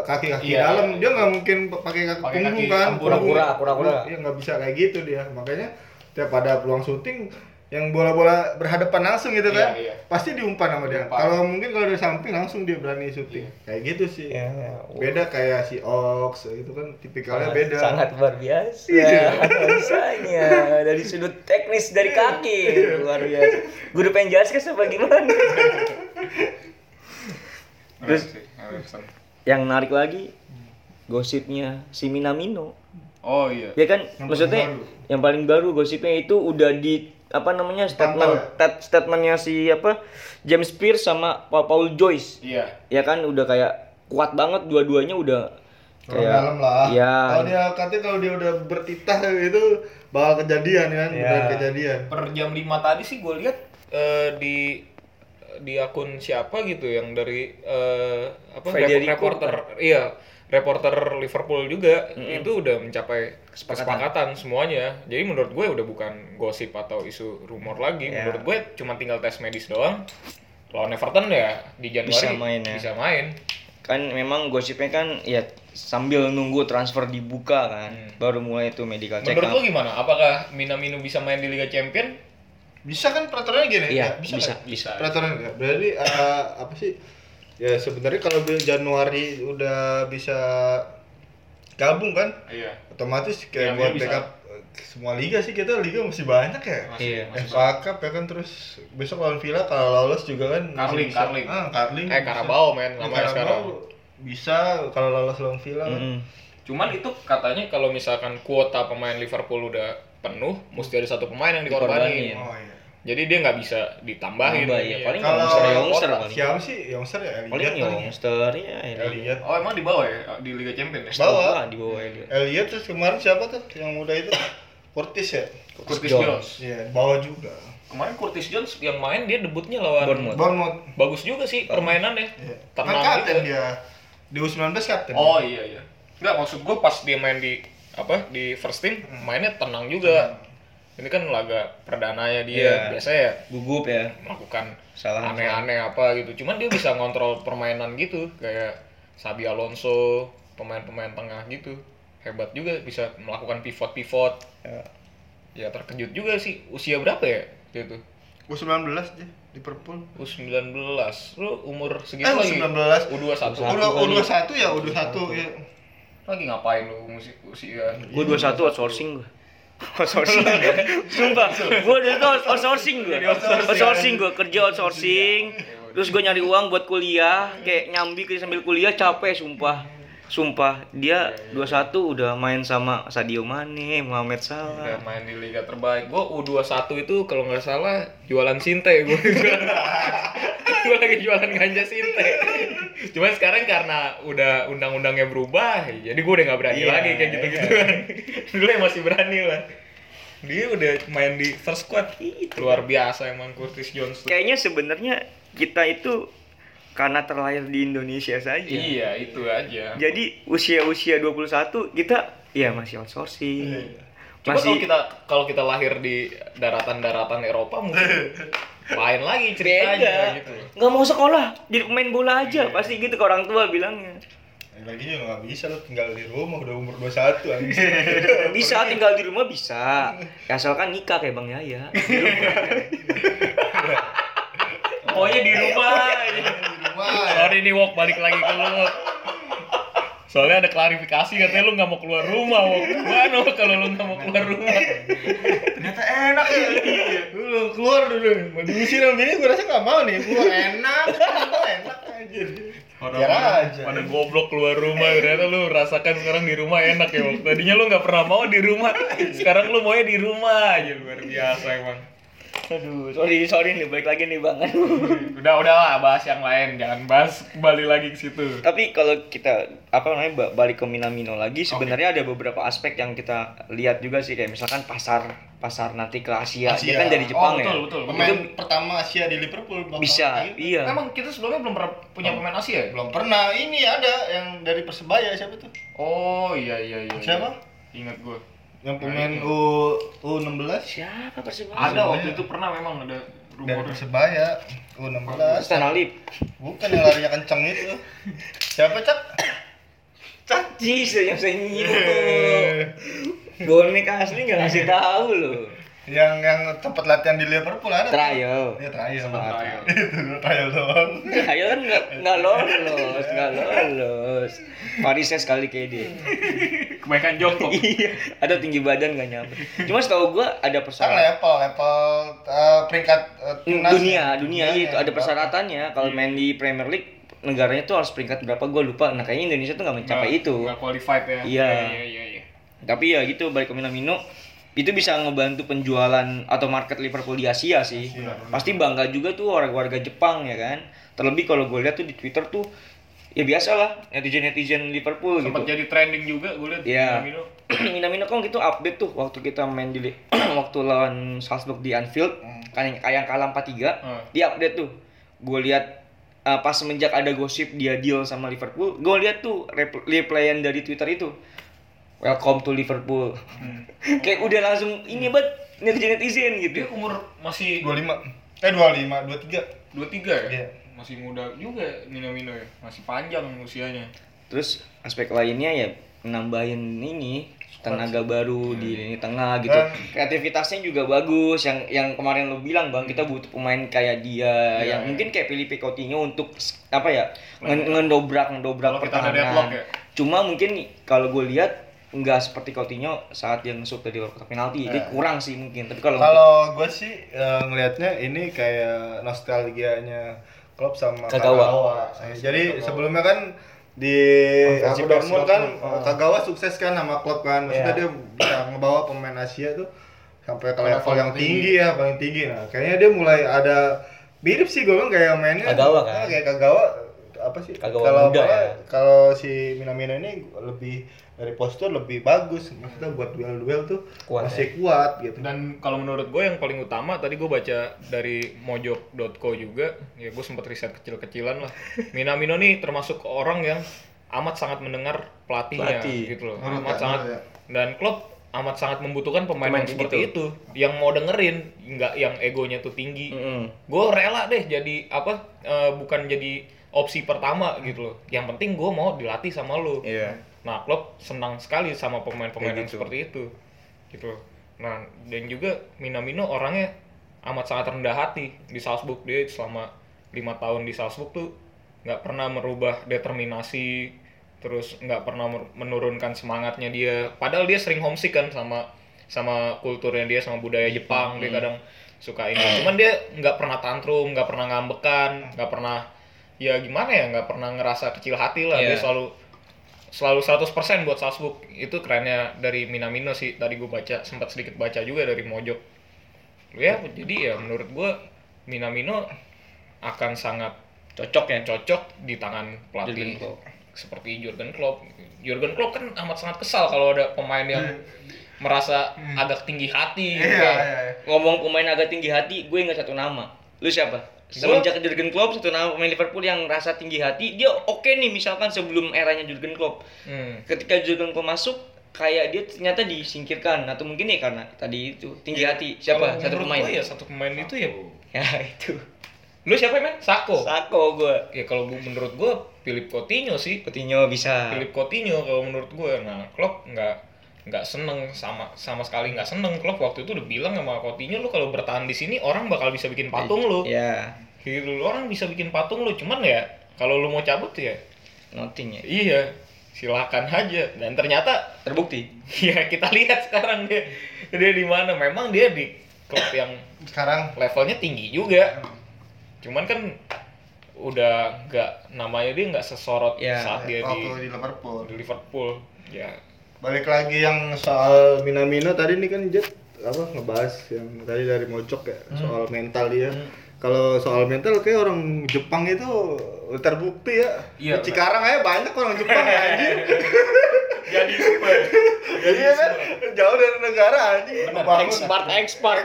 Speaker 2: kaki kaki
Speaker 4: Iya,
Speaker 2: dalam
Speaker 4: iya.
Speaker 2: dia nggak mungkin p- pakai kaki
Speaker 4: Pakai
Speaker 2: punggung
Speaker 4: kaki
Speaker 2: kan
Speaker 4: tempur.
Speaker 2: Punggung-
Speaker 1: Kura-kura, kura-kura.
Speaker 2: Iya, nggak bisa kayak gitu dia makanya tiap ada peluang syuting yang bola-bola berhadapan langsung gitu kan
Speaker 4: Iya, iya.
Speaker 2: pasti diumpan sama dia
Speaker 4: Diumpan. Iya.
Speaker 2: kalau mungkin kalau dari samping langsung dia berani syuting kayak gitu sih
Speaker 1: Ya.
Speaker 2: beda kayak si Ox itu kan tipikalnya beda
Speaker 1: sangat luar biasa
Speaker 2: Iya.
Speaker 1: rasanya dari sudut teknis dari kaki
Speaker 2: Iya.
Speaker 1: luar biasa gue udah pengen jelaskan apa gimana Terus-
Speaker 4: Keren sih, Henderson.
Speaker 1: yang menarik lagi gosipnya si Minamino
Speaker 4: Oh iya.
Speaker 1: ya kan
Speaker 2: Yang
Speaker 1: maksudnya
Speaker 2: paling
Speaker 1: yang paling baru gosipnya itu udah di apa namanya
Speaker 2: ya?
Speaker 1: statement tat- statementnya si apa James Pierce sama Pa- Paul Joyce
Speaker 4: Iya.
Speaker 1: ya kan udah kayak kuat banget dua-duanya udah
Speaker 2: Orang dalam lah
Speaker 1: ya
Speaker 2: kalau dia katanya kalau dia udah bertitah itu bakal kejadian kan
Speaker 4: Iya.
Speaker 2: beneran kejadian
Speaker 3: Per jam 5 tadi sih gue lihat eh, di di akun siapa gitu yang dari eh, apa
Speaker 1: Federico,
Speaker 3: rep- reporter iya reporter Liverpool juga itu udah mencapai
Speaker 1: Kesepakatan.
Speaker 3: kesepakatan. semuanya jadi menurut gue udah bukan gosip atau isu rumor lagi
Speaker 1: Ya.
Speaker 3: menurut gue cuma tinggal tes medis doang lawan Everton ya di Januari
Speaker 1: Bisa main ya.
Speaker 3: bisa main
Speaker 1: kan memang gosipnya kan ya sambil nunggu transfer dibuka kan baru mulai itu medical check
Speaker 3: menurut lo
Speaker 1: up
Speaker 3: gimana apakah Minamino bisa main di Liga Champion
Speaker 2: bisa kan peraturannya gini
Speaker 1: iya
Speaker 2: Ya,
Speaker 1: bisa
Speaker 2: nggak?
Speaker 1: bisa,
Speaker 2: peraturan ya berarti eh, apa sih ya sebenarnya kalau bulan Januari udah bisa gabung kan
Speaker 4: Iya.
Speaker 2: otomatis kayak
Speaker 4: Iya,
Speaker 2: buat
Speaker 4: bisa.
Speaker 2: backup semua liga sih kita liga masih banyak ya.
Speaker 1: Iya.
Speaker 2: FA Cup ya kan terus besok lawan Villa kalau lolos juga kan
Speaker 4: Carling,
Speaker 2: masih bisa.
Speaker 4: Carling.
Speaker 2: Ah, Carling.
Speaker 3: Eh,
Speaker 2: bisa.
Speaker 3: Karabau, men.
Speaker 2: Ya,
Speaker 3: Namanya sekarang.
Speaker 2: Bisa kalau lolos lawan Villa kan.
Speaker 1: Mm-mm.
Speaker 3: Cuman itu katanya kalau misalkan kuota pemain Liverpool udah penuh, mesti ada satu pemain yang
Speaker 1: Dikorbanin.
Speaker 3: dikorbanin.
Speaker 2: Oh iya.
Speaker 3: Jadi dia nggak bisa ditambahin.
Speaker 1: Nambah, iya. Paling
Speaker 2: Kalau
Speaker 1: Youngster, Youngster paling.
Speaker 2: siapa sih Youngster ya? Elliot
Speaker 1: Paling
Speaker 2: kali ya.
Speaker 1: youngster ya, Elliot.
Speaker 2: Elliot.
Speaker 4: Oh emang di bawah ya di Liga Champions ya?
Speaker 2: Bawah.
Speaker 1: Di bawah Elliot.
Speaker 2: Elliot terus kemarin siapa tuh yang muda itu? Portis ya?
Speaker 4: Curtis
Speaker 1: Jones.
Speaker 4: Jones.
Speaker 2: Iya, bawa juga.
Speaker 3: Kemarin Curtis Jones yang main dia debutnya lawan
Speaker 1: Bournemouth.
Speaker 2: Bournemouth.
Speaker 3: Bagus juga sih permainannya.
Speaker 2: Iya. Kan
Speaker 3: Tenang
Speaker 2: kapten
Speaker 3: gitu.
Speaker 2: dia. Di U19 kapten.
Speaker 3: Oh iya iya. Enggak maksud gue pas dia main di apa di first team
Speaker 4: Hmm.
Speaker 3: mainnya tenang juga. Ini kan laga perdananya
Speaker 1: Iya.
Speaker 3: dia biasanya ya
Speaker 1: Gugup ya.
Speaker 3: melakukan
Speaker 1: Salah.
Speaker 3: aneh-aneh apa gitu. Cuman dia bisa ngontrol permainan gitu kayak Sabi Alonso, pemain-pemain tengah gitu. Hebat juga bisa melakukan pivot-pivot.
Speaker 1: Ya.
Speaker 3: Ya terkejut juga sih usia berapa ya dia tuh?
Speaker 2: U19 dia Liverpool.
Speaker 3: U19. Lu umur segitu
Speaker 2: Eh,
Speaker 3: lagi.
Speaker 2: U19.
Speaker 3: U21.
Speaker 2: U21 ya, U21 ya.
Speaker 3: Lagi ngapain lu musik usia?
Speaker 1: Gue 21 outsourcing gue. Iya. Outsourcing. Sumpah, gue dari itu outsourcing gue. Outsourcing gue kerja outsourcing. Terus gue nyari uang buat kuliah, kayak nyambi ke sambil kuliah capek sumpah. Sumpah, dia 21 udah main sama Sadio Mane, Mohamed
Speaker 3: Udah
Speaker 1: Salah.
Speaker 3: main di liga terbaik. Gua U21 itu kalau nggak salah jualan sinte gua. gua lagi jualan ganja sinte. Cuman sekarang karena udah undang-undangnya berubah, ya jadi gua udah nggak berani
Speaker 1: Iya,
Speaker 3: lagi kayak gitu-gitu. Dulu ya masih berani lah. Dia udah main di first squad. Luar biasa emang Curtis Jones. tuh.
Speaker 1: Kayaknya sebenarnya kita itu karena terlahir di Indonesia saja.
Speaker 3: Iya, itu aja.
Speaker 1: Jadi usia-usia 21 kita ya masih outsourcing.
Speaker 3: Coba kalau kita kalau kita lahir di daratan-daratan Eropa mungkin lain lagi ceritanya gitu.
Speaker 1: nggak mau sekolah jadi pemain bola aja pasti gitu ke orang tua bilangnya
Speaker 2: Lagi juga nggak bisa lo tinggal di rumah udah umur 21 anjing.
Speaker 1: bisa tinggal di rumah bisa ya, asalkan nikah kayak bang Yaya Di rumah.
Speaker 3: Pokoknya di rumah. aja. Sorry nih Wok, balik lagi ke lu. Wok. Soalnya ada klarifikasi katanya lu nggak mau keluar rumah, Wok. Gimana Wok, kalau lu nggak mau keluar rumah?
Speaker 2: Ternyata enak ya. Dulu keluar dulu. Mau diusir sama
Speaker 3: ya.
Speaker 2: bini gue rasa nggak mau nih. Keluar enak, keluar enak aja. Biar aja.
Speaker 3: Pada goblok keluar rumah, ternyata lu rasakan sekarang di rumah enak ya, Wok. Tadinya lu nggak pernah mau di rumah, sekarang lu maunya di rumah aja luar biasa emang.
Speaker 1: aduh sorry sorry nih balik lagi nih bang
Speaker 3: Udah udahlah bahas yang lain, jangan bahas kembali lagi ke situ.
Speaker 1: tapi kalau kita apa namanya ba- balik ke Minamino lagi sebenarnya ada beberapa aspek yang kita lihat juga sih kayak misalkan pasar pasar nanti ke Asia,
Speaker 2: Asia.
Speaker 1: dia kan dari Jepang
Speaker 3: Oh,
Speaker 1: ya
Speaker 3: betul, betul.
Speaker 2: Pemain pertama Asia di Liverpool bakal
Speaker 1: bisa
Speaker 2: kayak gitu.
Speaker 1: iya
Speaker 3: Emang kita sebelumnya belum pernah punya pemain Asia ya?
Speaker 2: Belum pernah. Ini ada yang dari Persebaya siapa tuh?
Speaker 3: Oh iya iya iya. iya.
Speaker 2: Siapa?
Speaker 4: Ingat gue.
Speaker 2: Yang pemain U U16
Speaker 1: siapa persebaya
Speaker 4: Ada waktu itu pernah memang ada
Speaker 2: dari
Speaker 4: rumor.
Speaker 2: Persebaya U16
Speaker 1: Stan Alip
Speaker 2: bukan yang larinya kenceng itu siapa cak
Speaker 1: Jesus yang saya nyium bonek asli nggak ngasih tahu loh
Speaker 2: yang yang tempat latihan di Liverpool ada tuh.
Speaker 1: trial
Speaker 2: Iya trial.
Speaker 1: trial.
Speaker 2: Itu trial doang.
Speaker 1: trial kan nggak nggak lolos nggak lolos Parisnya sekali kayak dia
Speaker 4: Kebanyakan jongkok.
Speaker 1: iya ada tinggi badan nggak nyampe cuma setahu gua ada
Speaker 2: Sekarang
Speaker 1: persyaratan
Speaker 2: level level eh, peringkat eh, timnas ya.
Speaker 1: dunia dunia
Speaker 2: Dunia
Speaker 1: itu ada
Speaker 2: ya.
Speaker 1: persyaratannya kalau main di Premier League negaranya tuh harus peringkat berapa gua lupa nah kayaknya Indonesia tuh nggak mencapai
Speaker 3: Nah.
Speaker 1: itu
Speaker 4: Gak qualified ya.
Speaker 1: Iya.
Speaker 4: Iya iya iya.
Speaker 1: tapi ya gitu balik ke Minamino itu bisa ngebantu penjualan atau market Liverpool di Asia sih pasti bangga juga tuh warga-warga Jepang ya kan terlebih kalau gue lihat tuh di Twitter tuh ya biasa lah netizen netizen Liverpool
Speaker 4: Sempat
Speaker 1: gitu
Speaker 4: jadi trending juga gue liat.
Speaker 1: Iya.
Speaker 4: Minamino.
Speaker 1: Minamino kan gitu update tuh waktu kita main di li- waktu lawan Salzburg di Anfield kan yang, yang kalah 4-3
Speaker 4: Hmm.
Speaker 1: dia update tuh gue lihat uh, pas semenjak ada gosip dia deal sama Liverpool gue lihat tuh rep- replyan dari Twitter itu welcome to Liverpool kayak udah langsung ini banget netizen netizen gitu
Speaker 4: Dia umur masih
Speaker 2: 25. Eh 25, 23.
Speaker 4: 23 ya?
Speaker 2: Iya.
Speaker 4: Masih muda juga Minamino ya. Masih panjang usianya.
Speaker 1: terus aspek lainnya ya nambahin ini tenaga baru
Speaker 4: Hmm.
Speaker 1: di lini tengah gitu
Speaker 2: Eh.
Speaker 1: kreativitasnya juga bagus yang yang kemarin lo bilang bang
Speaker 4: Hmm.
Speaker 1: kita butuh pemain kayak
Speaker 4: Iya,
Speaker 1: dia yang mungkin kayak Felipe Coutinho untuk s- apa ya nge- ngedobrak ngedobrak
Speaker 4: Kalau kita ada
Speaker 1: pertahanan
Speaker 4: deadlock ya?
Speaker 1: cuma mungkin nih, kalau gue lihat nggak seperti Coutinho saat yang shoot dari luar kotak penalti.
Speaker 4: Eh.
Speaker 1: Jadi kurang sih mungkin. Tapi kalau
Speaker 2: Kalau gue sih eh, ngelihatnya ini kayak nostalgianya Klopp sama
Speaker 1: Kagawa. Oh, iya,
Speaker 2: Kagawa. Eh, Jadi sebelumnya kan di
Speaker 1: Konferensi
Speaker 2: Abu
Speaker 1: pers Dortmund,
Speaker 2: Dortmund kan
Speaker 1: ah.
Speaker 2: Kagawa sukses kan sama Klopp kan. Maksudnya
Speaker 1: Iya.
Speaker 2: dia bisa ngebawa pemain Asia tuh sampai ke
Speaker 3: Ke
Speaker 2: level
Speaker 3: level
Speaker 2: yang tinggi ya, paling tinggi. Nah, kayaknya dia mulai ada mirip sih gue bilang kayak mainnya
Speaker 1: Kagawa kan?
Speaker 2: Ah, kayak Kagawa apa sih
Speaker 1: Kagawa
Speaker 2: kalau
Speaker 1: muda
Speaker 2: malah-
Speaker 1: ya.
Speaker 2: kalau si Minamino ini lebih dari postur lebih bagus maksudnya buat duel-duel tuh
Speaker 1: Kuat ya.
Speaker 2: masih kuat gitu
Speaker 3: Dan kalau menurut gue yang paling utama tadi gue baca dari mojok.co juga, ya gue sempat riset kecil-kecilan lah. Minamino nih termasuk orang yang amat sangat mendengar pelatihnya
Speaker 1: Pelatih.
Speaker 3: gitu loh.
Speaker 2: Menurut
Speaker 3: amat
Speaker 2: ya,
Speaker 3: sangat
Speaker 2: menurut
Speaker 3: dan Klopp amat sangat membutuhkan pemain,
Speaker 1: Pemain
Speaker 3: yang seperti
Speaker 1: gitu.
Speaker 3: itu yang mau dengerin, nggak yang egonya tuh tinggi.
Speaker 1: Mm-mm.
Speaker 3: Gue rela deh jadi apa eh, bukan jadi opsi pertama gitu loh. Yang penting gue mau dilatih sama lo.
Speaker 1: Iya.
Speaker 3: Nah, Klopp senang sekali sama pemain-pemain yang seperti itu. Gitu. Nah, dan juga Minamino orangnya amat sangat rendah hati di Salzburg dia selama lima tahun di Salzburg tuh nggak pernah merubah determinasi terus nggak pernah mer- menurunkan semangatnya dia padahal dia sering homesick kan sama sama kulturnya dia sama budaya Jepang dia kadang suka ini cuman dia nggak pernah tantrum nggak pernah ngambekan nggak pernah ya gimana ya nggak pernah ngerasa kecil hati lah
Speaker 1: Iya.
Speaker 3: dia selalu selalu 100% buat Salzburg itu kerennya dari Minamino sih tadi gue baca sempat sedikit baca juga dari Mojok ya jadi ya menurut gue Minamino akan sangat
Speaker 1: Cocok ya.
Speaker 3: cocok di tangan
Speaker 1: Jurgen
Speaker 3: pelatih
Speaker 1: Klopp.
Speaker 3: seperti Jurgen Klopp Jurgen Klopp kan amat sangat kesal kalau ada pemain yang
Speaker 1: Hmm.
Speaker 3: merasa agak tinggi hati gitu
Speaker 2: Iya,
Speaker 3: kan.
Speaker 2: iya, iya.
Speaker 1: Ngomong pemain agak tinggi hati, gue ingat satu nama. Lu siapa? Semenjak Jurgen Klopp, satu nama pemain Liverpool yang rasa tinggi hati, dia oke nih misalkan sebelum eranya Jurgen Klopp.
Speaker 3: Hmm.
Speaker 1: ketika Jurgen Klopp masuk kayak dia ternyata disingkirkan atau mungkin ya karena tadi itu tinggi hati siapa
Speaker 3: Iya. Kalau
Speaker 1: satu
Speaker 3: menurut
Speaker 1: pemain
Speaker 3: gua ya satu pemain itu ya
Speaker 1: ya itu
Speaker 3: lu siapa men Sako
Speaker 1: Sako gue
Speaker 3: ya kalau gua- menurut gue Philip Coutinho sih
Speaker 1: Coutinho bisa
Speaker 3: Philip Coutinho kalau menurut gue nah Klopp nggak nggak seneng sama sama sekali nggak seneng Klopp waktu itu udah bilang sama Coutinho lu kalau bertahan di sini orang bakal
Speaker 1: Iya,
Speaker 3: bisa bikin patung lu
Speaker 1: ya
Speaker 3: gitu lu orang bisa bikin patung lu cuman ya kalau lu mau cabut ya
Speaker 1: nothing ya
Speaker 3: iya silakan aja dan ternyata
Speaker 1: terbukti
Speaker 3: ya kita lihat sekarang dia dia di mana memang dia di klub yang
Speaker 2: sekarang
Speaker 3: levelnya tinggi juga cuman kan udah nggak namanya dia nggak sesorot
Speaker 1: Ya,
Speaker 3: saat Oh,
Speaker 2: iya.
Speaker 3: dia di,
Speaker 2: waktu di Liverpool
Speaker 3: di Liverpool ya
Speaker 2: balik lagi yang soal Minamino tadi nih kan Jet apa ngebahas yang tadi dari Mojok ya
Speaker 3: Hmm.
Speaker 2: soal mental dia kalau soal mental kayak orang Jepang itu terbukti ya
Speaker 3: Iya,
Speaker 2: Di Cikarang aja banyak orang Jepang ya anjing
Speaker 3: jadi super
Speaker 2: jadi ya kan jauh dari negara anjing Ngebangun.
Speaker 1: expert expert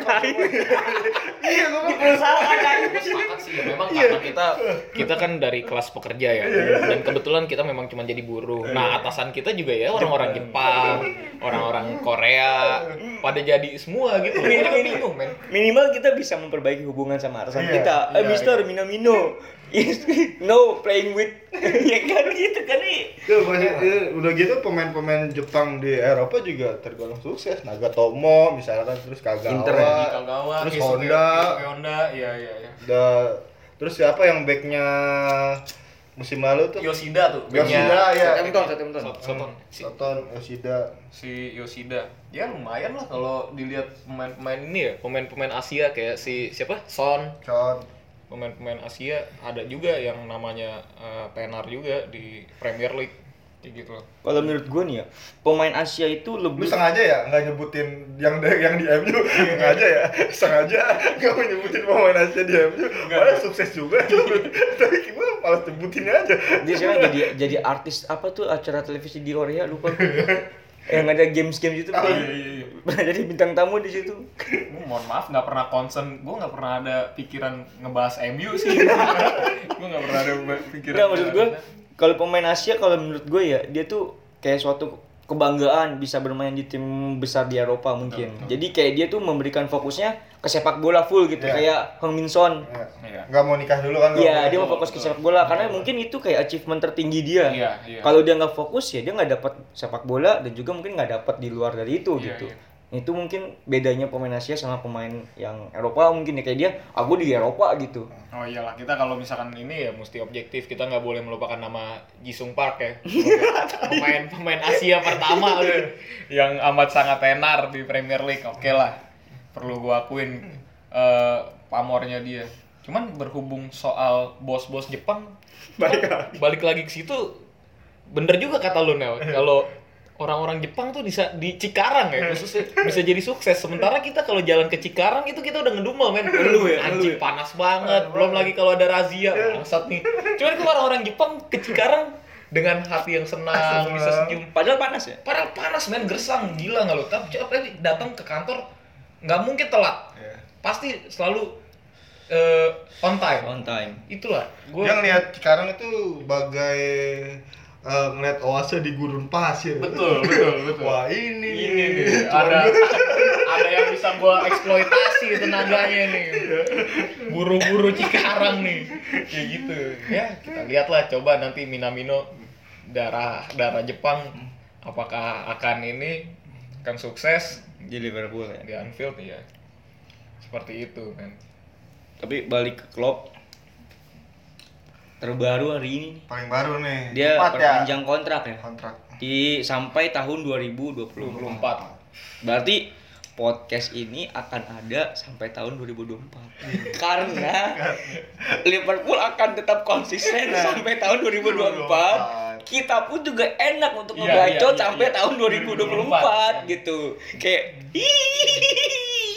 Speaker 2: iya gua bilang,
Speaker 3: memang karena kita kita kan dari kelas pekerja ya dan kebetulan kita memang cuma jadi buruh nah atasan kita juga ya orang-orang Jepang orang-orang Korea pada jadi semua gitu Kita kan bingung men
Speaker 1: minimal kita bisa memperbaiki hubungan sama atasan
Speaker 2: Iya,
Speaker 1: kita eh
Speaker 3: iya,
Speaker 1: Mister Minamino Yes, no playing with ya kan gitu kan nih
Speaker 2: Tuh, masih- eh, udah gitu pemain-pemain Jepang di Eropa juga tergolong sukses. Nagatomo misalkan terus Kagawa,
Speaker 1: Inter ya, di
Speaker 2: terus Honda,
Speaker 3: Honda iya iya iya
Speaker 2: da- terus siapa yang backnya musim lalu tuh? Hmm.
Speaker 4: Yoshida tuh
Speaker 2: Yoshida ya.
Speaker 1: Southampton Southampton
Speaker 3: Soton si,
Speaker 2: Soton, Yoshida.
Speaker 4: si Yoshida ya lumayan lah kalau dilihat pemain
Speaker 3: pemain ini ya pemain-pemain Asia kayak si siapa Son
Speaker 2: Con.
Speaker 3: pemain-pemain Asia ada juga yang namanya eh, tenar juga di Premier League kayak gitu loh
Speaker 1: kalau menurut gue nih ya pemain Asia itu
Speaker 2: Lu
Speaker 1: lebih
Speaker 2: sengaja ya nggak nyebutin yang dari yang di MU sengaja ya sengaja nggak mau nyebutin pemain Asia di MU malah sukses juga tuh tapi gimana malah nyebutin aja
Speaker 1: dia sekarang jadi jadi artis apa tuh acara televisi di Korea lupa gue. yang ada games games itu
Speaker 2: Oh,
Speaker 1: pernah-
Speaker 2: iya,
Speaker 1: pernah jadi bintang tamu di situ
Speaker 4: Gua mohon maaf nggak pernah concern gue nggak pernah ada pikiran ngebahas MU sih gue nggak pernah ada be- pikiran
Speaker 1: nggak maksud gue
Speaker 4: ngebahas-
Speaker 1: kalau pemain Asia kalau menurut gue ya dia tuh kayak suatu kebanggaan bisa bermain di tim besar di Eropa mungkin jadi kayak dia tuh memberikan fokusnya ke sepak bola full gitu
Speaker 2: Iya.
Speaker 1: kayak Hong Min Son
Speaker 4: Iya.
Speaker 2: nggak mau nikah dulu kan
Speaker 1: Iya, dia mau fokus ke sepak bola karena mungkin itu kayak achievement tertinggi dia.
Speaker 4: Iya, iya.
Speaker 1: Kalau dia nggak fokus ya dia nggak dapat sepak bola dan juga mungkin nggak dapat di luar dari itu
Speaker 4: Iya,
Speaker 1: gitu.
Speaker 4: iya.
Speaker 1: itu mungkin bedanya pemain Asia sama pemain yang Eropa mungkin ya kayak dia aku di Eropa gitu
Speaker 3: Oh iyalah, kita kalau misalkan ini ya mesti objektif. Kita nggak boleh melupakan nama Jisung Park ya. pemain pemain Asia pertama loh. yang amat sangat tenar di Premier League. Oke lah. Perlu gua akuin eh, pamornya dia. Cuman berhubung soal bos-bos Jepang balik, balik lagi Eh. ke situ bener juga kata lu Nel kalau orang-orang Jepang tuh bisa di Cikarang ya khususnya bisa jadi sukses sementara kita kalau jalan ke Cikarang itu kita udah Eh. ngedumel Eh. men
Speaker 5: Lu ya, lu
Speaker 3: anjing
Speaker 5: ya.
Speaker 3: panas banget belum lagi kalau ada razia bangsat nih cuman kalau orang-orang Jepang ke Cikarang dengan hati yang senang bisa senyum
Speaker 1: padahal panas ya
Speaker 3: padahal panas men gersang gila nggak lo tapi tapi datang ke kantor nggak mungkin telat pasti selalu eh, on time
Speaker 1: on time
Speaker 3: itulah gue
Speaker 2: Dia ngeliat sekarang itu bagai eh, ngeliat oase di gurun pasir.
Speaker 3: betul betul betul
Speaker 2: Wah ini,
Speaker 3: ini nih ada ada yang bisa gua eksploitasi tenaganya nih buru-buru cikarang nih ya gitu ya kita lihatlah coba nanti minamino darah darah Jepang apakah akan ini akan sukses
Speaker 1: di Liverpool ya
Speaker 3: di Anfield ya seperti itu kan
Speaker 1: tapi balik ke Klopp terbaru hari ini nih.
Speaker 2: Paling baru nih.
Speaker 1: dia
Speaker 2: Cepat ya.
Speaker 1: perpanjang kontrak ya
Speaker 2: Kontrak.
Speaker 1: di sampai tahun 2020
Speaker 3: 24
Speaker 1: berarti podcast ini akan ada sampai tahun 2024 karena Liverpool akan tetap konsisten
Speaker 3: Nah.
Speaker 1: sampai tahun 2024 kita pun juga enak untuk
Speaker 3: Iya,
Speaker 1: ngebacot
Speaker 3: iya, iya,
Speaker 1: sampai
Speaker 3: iya.
Speaker 1: tahun 2024 gitu kayak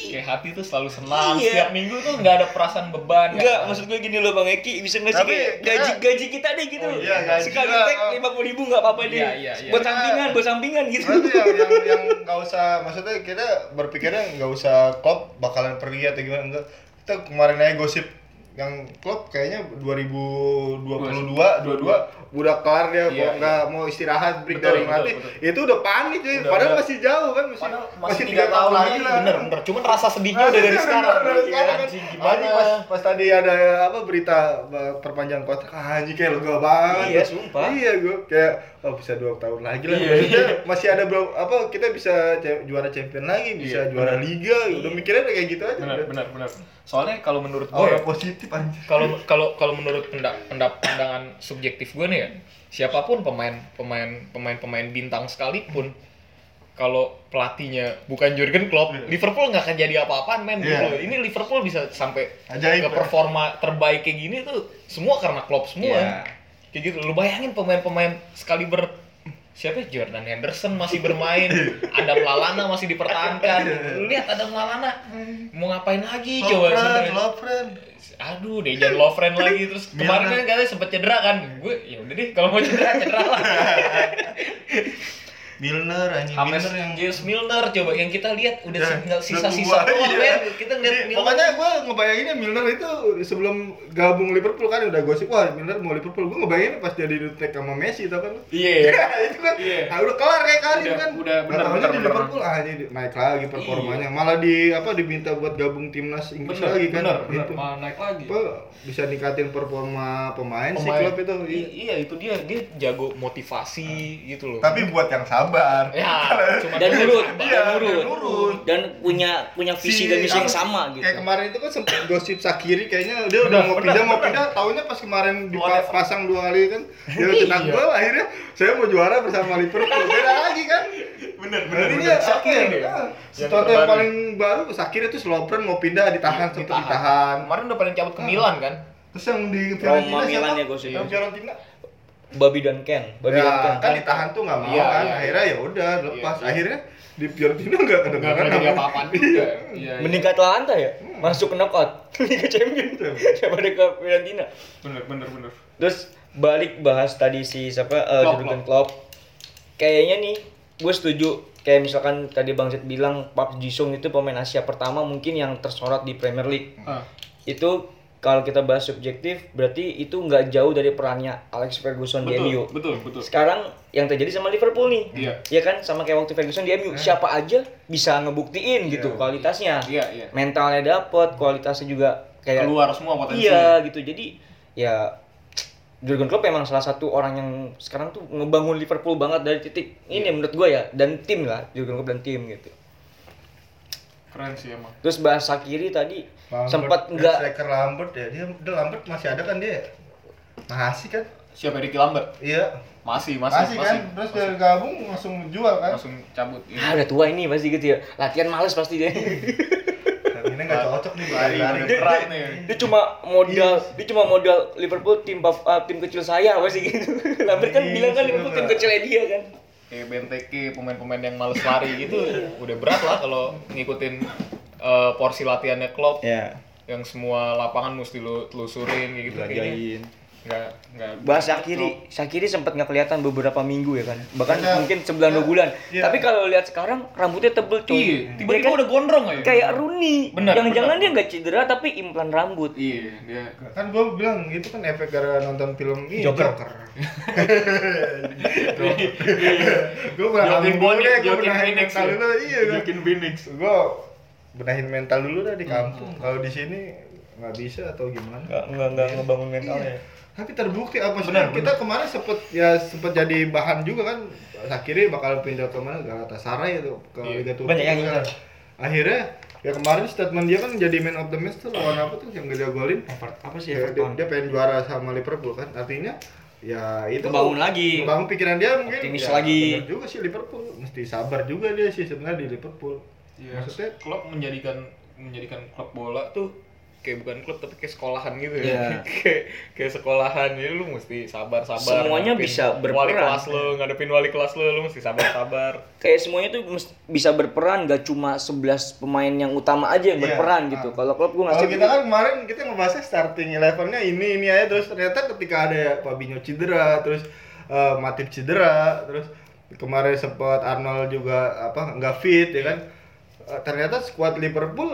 Speaker 3: kayak hati tuh selalu senang
Speaker 1: Iya.
Speaker 3: setiap minggu tuh nggak ada perasaan beban ya kan?
Speaker 1: Enggak, maksud gue gini loh Bang Eki, bisa nggak sih
Speaker 2: Tapi,
Speaker 1: kayak gaji
Speaker 2: ya.
Speaker 1: gaji kita deh gitu.
Speaker 2: Oh, iya, gaji
Speaker 1: Sekali
Speaker 2: lah.
Speaker 1: tek lima puluh ribu nggak apa-apa deh.
Speaker 3: Iya, iya, iya.
Speaker 1: Buat sampingan, buat sampingan gitu.
Speaker 2: Berarti ya, yang yang yang nggak usah maksudnya kita berpikirnya nggak usah klub bakalan pergi atau gimana enggak. Kita kemarin aja gosip yang klub kayaknya 2022 22 udah kelar dia
Speaker 3: Iya,
Speaker 2: kalau nggak mau istirahat break
Speaker 3: Betul,
Speaker 2: dari
Speaker 3: betul,
Speaker 2: mati
Speaker 3: betul.
Speaker 2: itu udah panik cuy
Speaker 3: Udah,
Speaker 2: padahal
Speaker 3: udah.
Speaker 2: masih jauh kan masih
Speaker 3: Padahal
Speaker 2: masih
Speaker 3: masih
Speaker 2: tiga tahun lagi lah
Speaker 3: bener bener cuman rasa sedihnya udah dari sekarang Iya,
Speaker 2: Bener, bener, sekarang kan.
Speaker 3: anjing gimana
Speaker 2: Anjing, pas, pas tadi ada apa berita eh, perpanjang kontrak ah, anjing kayak lega banget
Speaker 1: Iya, sumpah.
Speaker 2: iya gue kayak oh, bisa dua tahun lagi
Speaker 3: Iya.
Speaker 2: lah Maksudnya masih ada belum apa kita bisa ce- juara champion lagi bisa juara liga udah mikirnya udah kayak gitu aja
Speaker 3: Iya, benar
Speaker 2: udah.
Speaker 3: benar benar soalnya kalau menurut
Speaker 2: oh
Speaker 3: gue ya,
Speaker 2: ya positif anjir
Speaker 3: kalau kalau kalau menurut pendap, pendap- pandangan subjektif gue nih ya siapapun pemain pemain pemain pemain bintang sekalipun kalau pelatihnya bukan Jurgen Klopp Liverpool nggak akan jadi apa-apaan men gitu
Speaker 2: Iya.
Speaker 3: loh. ini Liverpool bisa sampai
Speaker 2: Ajaib, ya.
Speaker 3: ke performa terbaik kayak gini tuh semua karena Klopp semua
Speaker 1: Iya.
Speaker 3: kayak gitu lu bayangin pemain-pemain sekali ber siapa ya? Jordan Henderson masih bermain
Speaker 2: Iya.
Speaker 3: Adam Lallana masih dipertahankan lu lihat Adam Lallana
Speaker 2: Hmm.
Speaker 3: mau ngapain lagi coba sebenarnya?
Speaker 2: love friend
Speaker 3: aduh Dejan Lovren lagi terus kemarin kan katanya sempet cedera kan gue ya udah deh kalau mau cedera cedera lah
Speaker 2: Milner anjing
Speaker 3: James
Speaker 2: Milner yang
Speaker 3: James Milner coba yang kita lihat udah
Speaker 2: Ya,
Speaker 3: tinggal
Speaker 2: udah tua,
Speaker 3: sisa-sisa doang
Speaker 2: iya.
Speaker 3: men kita ngeliat
Speaker 2: Jadi,
Speaker 3: Milner
Speaker 2: Pokoknya gue ngebayanginnya Milner itu sebelum gabung Liverpool kan udah gosip wah Milner mau Liverpool. Gue ngebayangin pas dia di tag sama Messi tau kan.
Speaker 3: iya
Speaker 2: Ya, itu kan ah, udah kelar kayak karir
Speaker 3: Udah-
Speaker 2: kan.
Speaker 3: udah, bener,
Speaker 2: Nah,
Speaker 3: bener,
Speaker 2: di
Speaker 3: bener.
Speaker 2: Liverpool ah ini naik lagi performanya. Malah di apa diminta buat gabung timnas Inggris
Speaker 3: bener
Speaker 2: lagi kan.
Speaker 3: bener bener
Speaker 2: Gitu.
Speaker 3: malah naik lagi
Speaker 2: Apa, bisa ningkatin performa pemain, si
Speaker 3: Pemain-
Speaker 2: klub itu.
Speaker 3: I-
Speaker 2: Iya.
Speaker 3: iya itu dia dia jago motivasi gitu loh
Speaker 2: buat yang sabar.
Speaker 3: ya cuma
Speaker 1: Dan nurut, dan nurut.
Speaker 2: Iya, nurut.
Speaker 1: Dan punya punya visi dan misi yang
Speaker 2: apa,
Speaker 1: sama gitu.
Speaker 2: Kayak kemarin itu kan sempet gosip Sakiri kayaknya dia udah
Speaker 3: Benar,
Speaker 2: mau
Speaker 3: benar,
Speaker 2: pindah mau
Speaker 3: benar.
Speaker 2: pindah tahunnya pas kemarin
Speaker 3: Luar
Speaker 2: dipasang pasang dua kali kan dia
Speaker 1: Iya.
Speaker 2: cetak gol akhirnya saya mau juara bersama Liverpool beda lagi kan
Speaker 3: bener
Speaker 2: berarti dia
Speaker 3: Sakiri
Speaker 2: Sakiri
Speaker 3: dia.
Speaker 2: ah,
Speaker 3: Yang
Speaker 2: sesuatu yang
Speaker 3: terbaru.
Speaker 2: paling baru Sakiri itu Slobren mau pindah ditahan
Speaker 1: Iya,
Speaker 2: sempat
Speaker 3: Ditahan.
Speaker 2: ditahan
Speaker 3: kemarin udah paling cabut ke Milan kan
Speaker 2: terus yang di
Speaker 1: Roma,
Speaker 2: Fiorentina
Speaker 1: Milan ya,
Speaker 2: siapa?
Speaker 1: gosip.
Speaker 2: Yang Fiorentina
Speaker 1: Babi dan Ken, Babi
Speaker 2: ya
Speaker 1: dan Ken.
Speaker 2: kan ditahan tuh nggak mau
Speaker 3: Iya,
Speaker 2: kan
Speaker 3: iya,
Speaker 2: akhirnya ya udah lepas akhirnya di Fiorentina nggak ada
Speaker 3: nggak pernah jadi apa-apaan juga iya iya.
Speaker 1: Meningkat lantai ya,
Speaker 2: Hmm.
Speaker 1: masuk ke knockout Liga Champions daripada ke Fiorentina.
Speaker 3: bener bener bener
Speaker 1: Terus balik bahas tadi si siapa eh,
Speaker 3: Klopp,
Speaker 1: Jurgen Klopp. Kayaknya nih gue setuju kayak misalkan tadi Bang Zed bilang Park Jisung itu pemain Asia pertama mungkin yang tersorot di Premier League.
Speaker 3: Ah.
Speaker 1: Itu kalau kita bahas subjektif berarti itu nggak jauh dari perannya Alex Ferguson di MU.
Speaker 3: betul betul betul
Speaker 1: Sekarang yang terjadi sama Liverpool nih.
Speaker 3: Iya. Eh.
Speaker 1: Ya kan sama kayak waktu Ferguson di MU, siapa aja bisa ngebuktiin gitu kualitasnya.
Speaker 3: Iya, iya.
Speaker 1: Mentalnya dapet, kualitasnya juga kayak
Speaker 3: keluar semua potensi
Speaker 1: Iya gitu. Jadi ya Jurgen Klopp memang salah satu orang yang sekarang tuh ngebangun Liverpool banget dari titik ini menurut gue ya dan tim lah Jurgen Klopp dan tim gitu.
Speaker 3: Keren sih emang.
Speaker 1: Terus bahasa kiri tadi
Speaker 2: Lambert,
Speaker 1: sempat nggak
Speaker 2: striker Lambert ya dia udah Lambert masih ada kan dia masih kan
Speaker 3: Siapa Ricky Lambert?
Speaker 2: iya
Speaker 3: Masih,
Speaker 2: masih,
Speaker 3: masih, masih.
Speaker 2: kan terus dia gabung langsung jual kan
Speaker 3: langsung cabut.
Speaker 1: ah udah tua ini pasti gitu ya latihan males pasti dia
Speaker 2: Tapi ini nggak cocok nih lari lari
Speaker 3: udah berat nih.
Speaker 1: dia cuma modal dia cuma modal Liverpool tim baf- ah, tim kecil saya pasti gitu Lambert kan bilang kan Liverpool tim kecilnya dia kan
Speaker 3: Kayak BNTK pemain-pemain yang males lari gitu
Speaker 1: Iya.
Speaker 3: udah berat lah kalau ngikutin eh, porsi latihannya Klopp
Speaker 1: ya
Speaker 3: yang semua lapangan mesti lu telusurin kayak gitu kayaknya nggak nggak
Speaker 1: bahasa kiri Sakiri sempat nggak kelihatan beberapa minggu ya kan bahkan
Speaker 2: Iya.
Speaker 1: mungkin sebulan dua bulan
Speaker 2: Iya.
Speaker 1: tapi kalau lihat sekarang rambutnya tebel cuy
Speaker 3: Iya,
Speaker 1: Dia
Speaker 3: tiba-tiba
Speaker 1: kan
Speaker 3: udah gondrong aja.
Speaker 1: kayak Rooney
Speaker 3: Benar,
Speaker 1: jangan-jangan dia
Speaker 3: benar.
Speaker 1: nggak cedera tapi implan rambut
Speaker 3: Iya, dia
Speaker 2: kan gua bilang itu kan efek gara nonton film ini
Speaker 1: Joker.
Speaker 2: gua benahin
Speaker 3: Joaquin
Speaker 2: dulu deh
Speaker 3: Phoenix,
Speaker 2: gua
Speaker 3: Joaquin
Speaker 2: benahin
Speaker 3: Phoenix
Speaker 2: mental
Speaker 3: ya.
Speaker 2: dulu iya kan
Speaker 3: Joaquin Phoenix. Hmm.
Speaker 2: gua benahin mental dulu deh di kampung kalau di sini nggak bisa atau gimana Iya.
Speaker 1: nggak nggak ngebangun mentalnya
Speaker 2: tapi terbukti apa sih kita kemarin sempet ya sempet jadi bahan juga kan akhirnya bakal pindah ke mana Galatasaray itu ke
Speaker 3: Iya.
Speaker 2: Liga Turki kan.
Speaker 1: Banyak yang ingat.
Speaker 2: akhirnya ya kemarin statement dia kan jadi man of the match tuh lawan apa tuh yang gak dia golin
Speaker 1: apa sih
Speaker 2: ya, dia, dia pengen juara sama Liverpool kan artinya ya itu
Speaker 1: Kebangun lagi.
Speaker 2: bangun pikiran dia mungkin
Speaker 1: Optimis
Speaker 2: ya,
Speaker 1: lagi.
Speaker 2: bener juga sih Liverpool mesti sabar juga dia sih sebenarnya di Liverpool
Speaker 3: Iya.
Speaker 2: maksudnya
Speaker 3: Klopp menjadikan menjadikan klub bola tuh kayak bukan klub tapi kayak sekolahan gitu ya.
Speaker 1: Iya.
Speaker 3: kayak kayak sekolahan jadi lu mesti sabar-sabar.
Speaker 1: Semuanya
Speaker 3: ngadepin
Speaker 1: bisa berperan.
Speaker 3: Wali kelas lu, ngadepin wali kelas lu, lu mesti sabar-sabar.
Speaker 1: kayak semuanya tuh mes- bisa berperan gak cuma 11 pemain yang utama aja yang
Speaker 2: Iya,
Speaker 1: berperan
Speaker 2: ah.
Speaker 1: gitu kalau klub gue
Speaker 2: Kalau
Speaker 1: ngasih
Speaker 2: kita kan kemarin kita ngebahasnya starting elevennya ini ini aja terus ternyata ketika ada Fabinho cedera terus eh, Matip cedera terus kemarin sempat Arnold juga apa nggak fit ya kan Eh, ternyata skuad Liverpool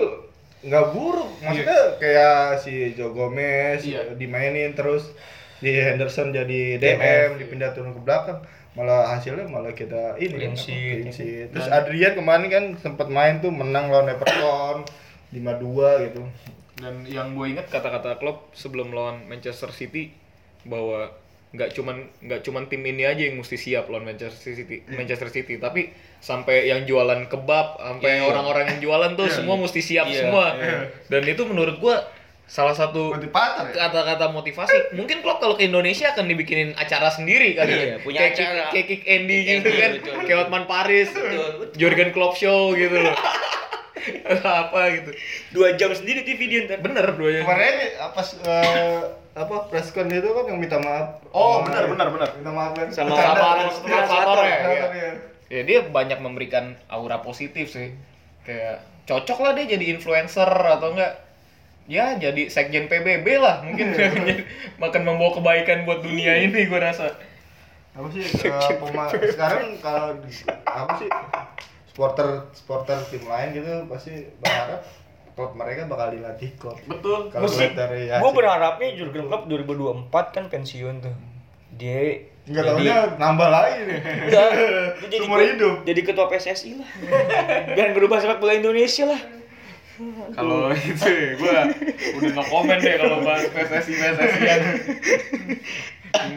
Speaker 2: nggak buruk
Speaker 1: Iya.
Speaker 2: maksudnya kayak si Joe Gomez
Speaker 3: Iya.
Speaker 2: dimainin terus di Henderson jadi DM,
Speaker 1: iya.
Speaker 2: dipindah turun ke belakang malah hasilnya malah kita ini
Speaker 1: Clean
Speaker 2: kan, apa,
Speaker 1: sheet. ya.
Speaker 2: clean sheet. terus Adrian kemarin kan sempat main tuh menang lawan Everton 5-2 gitu
Speaker 3: Dan yang gue inget kata-kata Klopp sebelum lawan Manchester City bahwa nggak cuman nggak cuman tim ini aja yang mesti siap lawan Manchester City
Speaker 2: Iya.
Speaker 3: Manchester City tapi sampai yang jualan kebab
Speaker 2: Iya.
Speaker 3: sampai orang-orang yang jualan tuh semua mesti siap semua dan itu menurut gua salah satu
Speaker 2: motivator ya?
Speaker 3: kata-kata motivasi mungkin Klopp kalau ke Indonesia akan dibikinin acara sendiri kali
Speaker 1: Iya,
Speaker 3: ya
Speaker 1: punya
Speaker 3: kayak
Speaker 1: acara.
Speaker 3: kick, kayak Kick Andy gitu
Speaker 1: Andy,
Speaker 3: kan
Speaker 1: betul.
Speaker 3: kayak Otman Paris Jurgen Klopp show gitu loh apa gitu
Speaker 1: dua jam sendiri TV dia ntar
Speaker 3: bener dua ya
Speaker 2: kemarin apa eh, apa preskon itu kan yang minta maaf
Speaker 3: Oh,
Speaker 2: benar
Speaker 3: benar, benar, benar.
Speaker 2: minta maaf kan
Speaker 1: Sama-
Speaker 2: Bercanda.
Speaker 3: sama
Speaker 2: Bercanda,
Speaker 3: motivator
Speaker 2: bercanda,
Speaker 3: ya, iya.
Speaker 2: iya.
Speaker 3: ya dia banyak memberikan aura positif sih kayak cocok lah dia jadi influencer atau enggak ya jadi sekjen PBB lah mungkin makan membawa kebaikan buat dunia ini gue rasa
Speaker 2: apa sih
Speaker 1: gitu.
Speaker 2: eh, pema- sekarang kalau di- apa sih supporter supporter tim lain gitu pasti berharap klub mereka bakal dilatih klub
Speaker 3: Betul.
Speaker 2: kalau
Speaker 1: sih
Speaker 2: lihat dari
Speaker 1: gue berharapnya Jurgen Klopp 2024 kan pensiun tuh dia
Speaker 2: nggak tahunya nambah lagi nih
Speaker 1: Enggak, Iya, dia jadi
Speaker 2: Seumur hidup.
Speaker 1: jadi ketua PSSI lah dan berubah sepak bola Indonesia lah
Speaker 3: kalau itu gue udah nggak komen deh kalau bahas PSSI PSSI an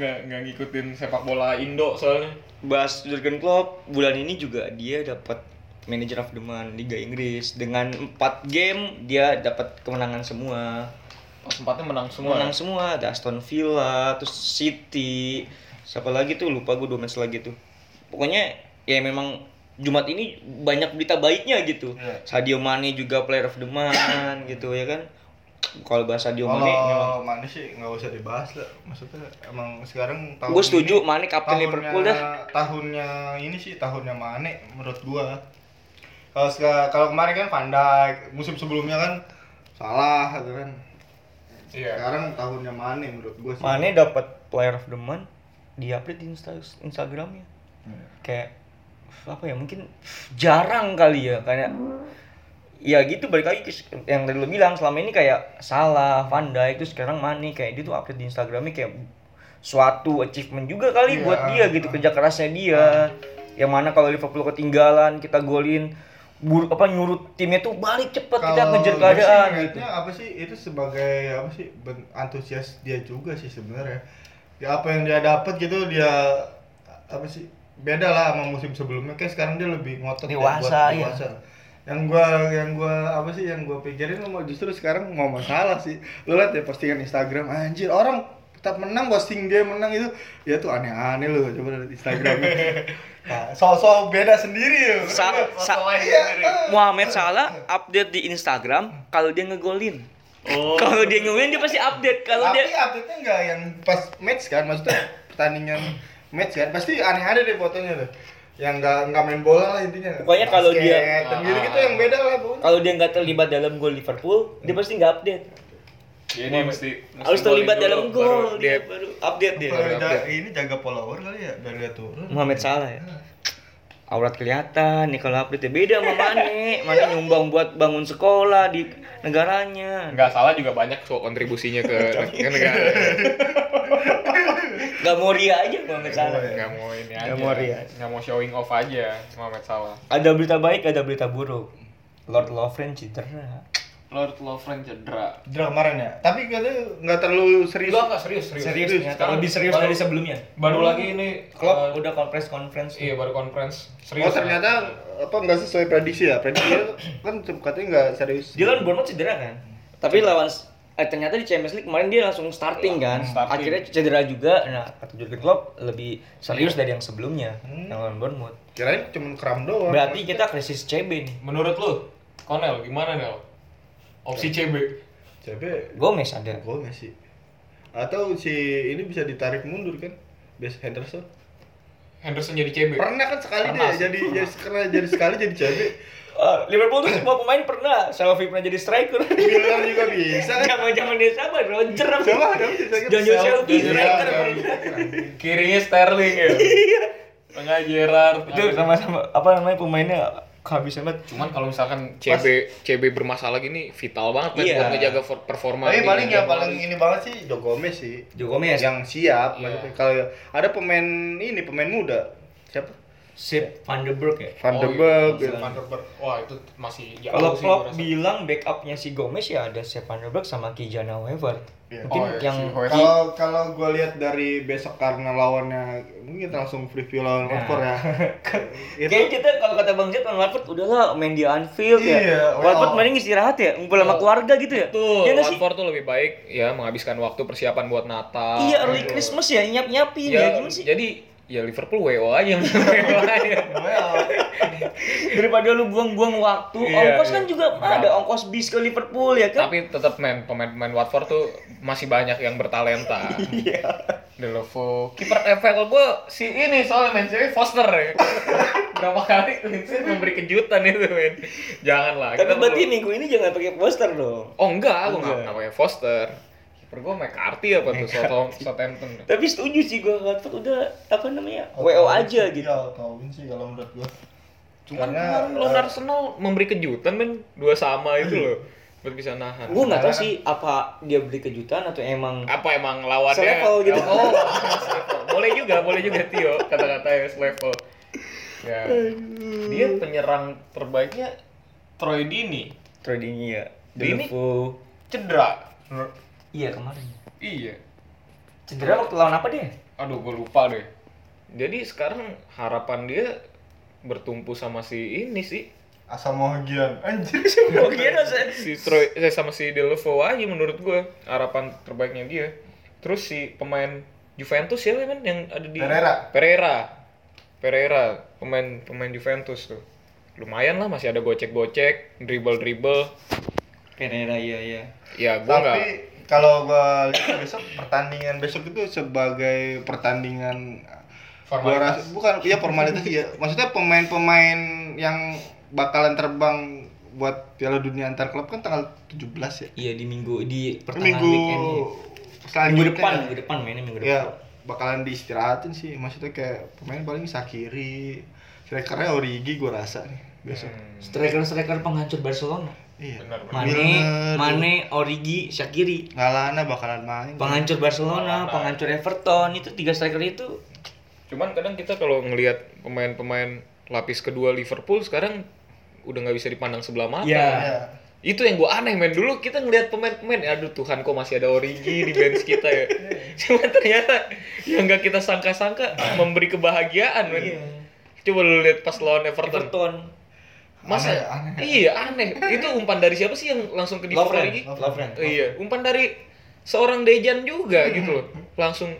Speaker 3: nggak nggak ngikutin sepak bola Indo soalnya
Speaker 1: bahas Jurgen Klopp bulan ini juga dia dapat manager of the month Liga Inggris dengan 4 game dia dapat kemenangan semua
Speaker 3: oh, sempatnya menang semua
Speaker 1: menang semua ada Aston Villa terus City siapa lagi tuh lupa gue dua match lagi tuh pokoknya ya memang Jumat ini banyak berita baiknya gitu Sadio Mane juga player of the month gitu ya kan kalau bahas Sadio Iya, Mane memang
Speaker 2: kalau mana sih nggak usah dibahas lah maksudnya emang sekarang tahun
Speaker 1: gue setuju
Speaker 2: ini-
Speaker 1: Mane kapten Liverpool dah
Speaker 2: tahunnya ini sih tahunnya Mane menurut gua kalau seka- kalau kemarin kan Van Dijk musim sebelumnya kan salah gitu kan
Speaker 3: iya
Speaker 2: sekarang tahunnya Mane menurut gua sih
Speaker 1: Mane dapat player of the month di update di Insta Instagramnya
Speaker 2: Iya.
Speaker 1: kayak "Uf, apa ya mungkin uf, jarang kali ya kayak ya gitu balik lagi ke s- yang tadi lo bilang selama ini kayak salah Van Dijk itu sekarang Mane kayak dia tuh update di Instagramnya kayak suatu achievement juga kali
Speaker 2: Iya,
Speaker 1: buat dia gitu kerja kerasnya dia yang mana kalau Liverpool ketinggalan kita golin bur apa nyuruh timnya tuh balik cepet kita
Speaker 2: Kalau
Speaker 1: ngejar
Speaker 2: gua sih
Speaker 1: keadaan gitu
Speaker 2: ngeliatnya apa sih itu sebagai apa sih ben- antusias dia juga sih sebenarnya ya apa yang dia dapat gitu dia apa sih beda lah sama musim sebelumnya kayak sekarang dia lebih ngotot ya, buat
Speaker 1: Dewasa, iya.
Speaker 2: dewasa. yang gua yang gua apa sih yang gua pikirin mau justru sekarang mau masalah sih lu lihat ya postingan Instagram anjir orang tetap menang posting dia menang itu ya tuh aneh-aneh lu coba lihat Instagramnya nah, soal-soal beda sendiri ya. lu.
Speaker 1: Sa- sa- Iya. Muhammad Salah update di Instagram kalau dia ngegolin. Kalau dia ngegolin dia pasti update. Kalau
Speaker 2: tapi
Speaker 1: dia
Speaker 2: update-nya nggak yang pas match kan maksudnya pertandingan match kan pasti aneh-aneh deh fotonya tuh yang nggak nggak main bola lah intinya
Speaker 1: Pokoknya kalau dia-
Speaker 2: gitu gitu yang beda lah pokoknya.
Speaker 1: kalau dia nggak terlibat dalam gol Liverpool, dia pasti nggak update.
Speaker 4: Jadi
Speaker 3: Ya,
Speaker 4: ini mesti, mesti
Speaker 1: Harus terlibat
Speaker 4: golin
Speaker 1: dalam
Speaker 4: dulu, baru
Speaker 1: gol dia baru update dia.
Speaker 2: Kalau ja- ini jaga follower kali ya biar dia turun
Speaker 1: Muhammad Salah ya. Aurat kelihatan nih kalau update beda sama Mane. Mane nyumbang buat bangun sekolah di negaranya.
Speaker 3: Nggak salah juga banyak so kontribusinya ke, ke negara.
Speaker 1: Nggak mau ria aja Muhammad Salah.
Speaker 3: Nggak mau ini aja.
Speaker 1: Nggak mau riak.
Speaker 3: Nggak mau showing off aja Muhammad Salah.
Speaker 1: Ada berita baik, ada berita buruk. Lord Lovren cedera.
Speaker 4: Lord Lovren cedera.
Speaker 2: Draw kemarin ya tapi katanya nggak terlalu serius
Speaker 4: Enggak, enggak serius, serius.
Speaker 2: Serius,
Speaker 4: ternyata.
Speaker 2: sekarang
Speaker 1: Lebih serius
Speaker 4: baru,
Speaker 1: dari sebelumnya.
Speaker 4: baru lagi ini eh,
Speaker 1: Klopp udah konferensi konferensi.
Speaker 4: iya baru conference. Serius.
Speaker 2: oh ternyata apa nggak sesuai prediksi ya prediksi dia kan katanya nggak serius
Speaker 1: Dia lawan Bournemouth cedera kan? Tapi lawan eh, ternyata di Champions League kemarin dia langsung starting kan.
Speaker 4: Starting.
Speaker 1: Akhirnya cedera juga. Nah, kata Jurgen Klopp lebih serius dari yang sebelumnya yang lawan Bournemouth.
Speaker 2: kirain cuma kram doang
Speaker 1: Berarti kita krisis CB nih.
Speaker 4: Menurut lu, Konel gimana Nel? Opsi CB.
Speaker 2: CB
Speaker 1: Gomez ada.
Speaker 2: Gomez sih. Atau si ini bisa ditarik mundur kan? Bias Henderson.
Speaker 4: Henderson jadi CB.
Speaker 2: Pernah kan sekali
Speaker 4: Pernah
Speaker 2: deh
Speaker 4: sih,
Speaker 2: jadi jadi pernah jadi sekali jadi CB.
Speaker 1: Ah, Liverpool tuh semua pemain pernah. Salafi pernah jadi striker.
Speaker 2: Miller juga bisa kan?
Speaker 1: Zaman-zaman dia sama Iya, Roger apa?
Speaker 2: Coba ada bisa kan?
Speaker 1: Jonjo Shelby
Speaker 4: Jonjo
Speaker 1: striker.
Speaker 4: Shelby. Kirinya Sterling ya. Tengah Gerrard.
Speaker 1: Itu sama-sama apa namanya pemainnya kehabisan banget.
Speaker 4: Cuman kalau misalkan
Speaker 3: CB CB bermasalah gini vital banget kan
Speaker 1: Iya.
Speaker 3: buat ngejaga for- performa.
Speaker 2: Tapi
Speaker 3: tim.
Speaker 2: paling yang paling ini banget sih Jo Gomez sih.
Speaker 1: Jo Gomez.
Speaker 2: Yang siap.
Speaker 4: Iya.
Speaker 2: maksudnya. Kalau ada pemain ini pemain muda siapa?
Speaker 1: Sip Van de Beek ya.
Speaker 2: Van gitu.
Speaker 4: Oh,
Speaker 2: der Berg.
Speaker 4: iya. Van
Speaker 1: gitu.
Speaker 4: der Berg. Wah, itu masih
Speaker 3: Ya,
Speaker 4: jauh
Speaker 1: Kalau
Speaker 4: sih. gua
Speaker 1: Klopp
Speaker 4: rasa.
Speaker 1: bilang backupnya si Gomez ya ada Sepp Van der Beek sama Kijana Wever.
Speaker 2: Iya.
Speaker 1: Mungkin
Speaker 4: Oh, iya,
Speaker 1: yang
Speaker 4: si Wever.
Speaker 2: Kalau kalau gue lihat dari besok karena lawannya mungkin kita langsung preview lawan
Speaker 1: Nah.
Speaker 2: Watford ya. Itu
Speaker 1: Kayaknya kita kalau kata Bang Zed, lawan Watford udahlah main di Anfield
Speaker 2: Iya,
Speaker 1: ya.
Speaker 2: well.
Speaker 1: Watford mending istirahat ya, ngumpul sama keluarga gitu ya.
Speaker 3: Betul,
Speaker 1: Ya nggak sih?
Speaker 3: Watford tuh lebih baik ya menghabiskan waktu persiapan buat Natal.
Speaker 1: Iya,
Speaker 3: gitu.
Speaker 1: early Christmas ya, nyiap-nyiapin ya,
Speaker 3: Ya,
Speaker 1: gimana sih?
Speaker 3: jadi ya Liverpool WO aja. WO aja.
Speaker 1: Iya. Daripada lu buang-buang waktu,
Speaker 3: Iya,
Speaker 1: ongkos
Speaker 3: iya.
Speaker 1: kan juga ada ongkos bis ke Liverpool ya kan?
Speaker 3: Tapi tetap men pemain-pemain Watford tuh masih banyak yang bertalenta. Iya. Delovo, kiper FPL gua si ini soalnya main cewek Foster ya. Berapa kali Lindsay memberi kejutan itu men. Jangan lah.
Speaker 1: Tapi
Speaker 3: kita
Speaker 1: berarti
Speaker 3: perlu-
Speaker 1: minggu ini jangan pakai poster dong.
Speaker 3: Oh enggak, gua enggak namanya Foster. Kiper gua McCarthy apa tuh Southampton. Southampton. ya.
Speaker 1: Tapi setuju sih gua Watford udah apa namanya? WO aja gitu.
Speaker 2: Iya, Calvin sih kalau menurut gue.
Speaker 3: Cuman
Speaker 2: Karena,
Speaker 3: Kan kemarin lawan
Speaker 2: eh,
Speaker 3: Arsenal memberi kejutan men dua sama itu loh. Buat bisa nahan.
Speaker 1: Gua nggak tahu sih apa dia beli kejutan atau emang
Speaker 3: apa emang lawannya
Speaker 1: Selevel gitu.
Speaker 3: oh selevel. boleh juga boleh juga Tio kata-katanya selevel ya dia penyerang terbaiknya
Speaker 4: Troy Dini
Speaker 1: trading ya.
Speaker 3: Dini?
Speaker 1: Defoe.
Speaker 4: cedera.
Speaker 1: Iya kemarin.
Speaker 4: Iya.
Speaker 1: Cedera waktu lawan apa deh?
Speaker 4: Aduh, gue lupa deh.
Speaker 3: jadi sekarang harapan dia bertumpu sama si ini sih
Speaker 2: Asal mau gian. Anjir.
Speaker 1: Oh kira saya.
Speaker 3: si Troy eh, sama si Delovo aja menurut gua harapan terbaiknya dia terus si pemain Juventus siapa men yang ada di
Speaker 2: Pereira.
Speaker 3: Pereira Pereira pemain pemain Juventus tuh lumayan lah masih ada gocek-gocek dribble-dribble
Speaker 1: Pereira iya iya.
Speaker 3: ya gua nggak
Speaker 2: Tapi kalau gua lihat besok pertandingan besok itu sebagai pertandingan gua
Speaker 4: Formalitas.
Speaker 2: rasa- bukan ya formalitas ya. Maksudnya pemain-pemain yang bakalan terbang buat Piala Dunia antar klub kan tanggal 17 ya.
Speaker 1: Iya di minggu di pertengahan
Speaker 2: Minggu
Speaker 1: weekend ya. Minggu
Speaker 2: selanjutnya.
Speaker 1: depan, minggu depan mainnya minggu depan.
Speaker 2: Ya, bakalan diistirahatin sih. Maksudnya kayak pemain paling Sakiri, strikernya Origi gua rasa nih besok.
Speaker 1: Hmm, Striker-striker penghancur Barcelona.
Speaker 2: Iya.
Speaker 1: Mane,
Speaker 2: Milner,
Speaker 1: Mane, Origi, Shakiri.
Speaker 2: Ngalana bakalan main.
Speaker 1: Penghancur Barcelona, penghancur Everton itu tiga striker itu.
Speaker 3: Cuman kadang kita kalau ngelihat pemain-pemain lapis kedua Liverpool sekarang udah nggak bisa dipandang sebelah mata.
Speaker 1: Iya.
Speaker 2: Iya.
Speaker 3: Itu yang gua aneh men dulu kita ngelihat pemain-pemain aduh Tuhan kok masih ada Origi di bench kita ya. Cuman ternyata yang nggak kita sangka-sangka memberi kebahagiaan men.
Speaker 1: Iya.
Speaker 3: Coba lu lihat pas lawan Everton.
Speaker 1: Everton.
Speaker 3: Masa?
Speaker 2: Aneh, aneh.
Speaker 3: Iya, aneh. Itu umpan dari siapa sih yang langsung ke
Speaker 1: Love
Speaker 3: Divock
Speaker 1: friend,
Speaker 3: lagi?
Speaker 1: love friend.
Speaker 3: Iya, umpan dari seorang Dejan juga gitu loh. Langsung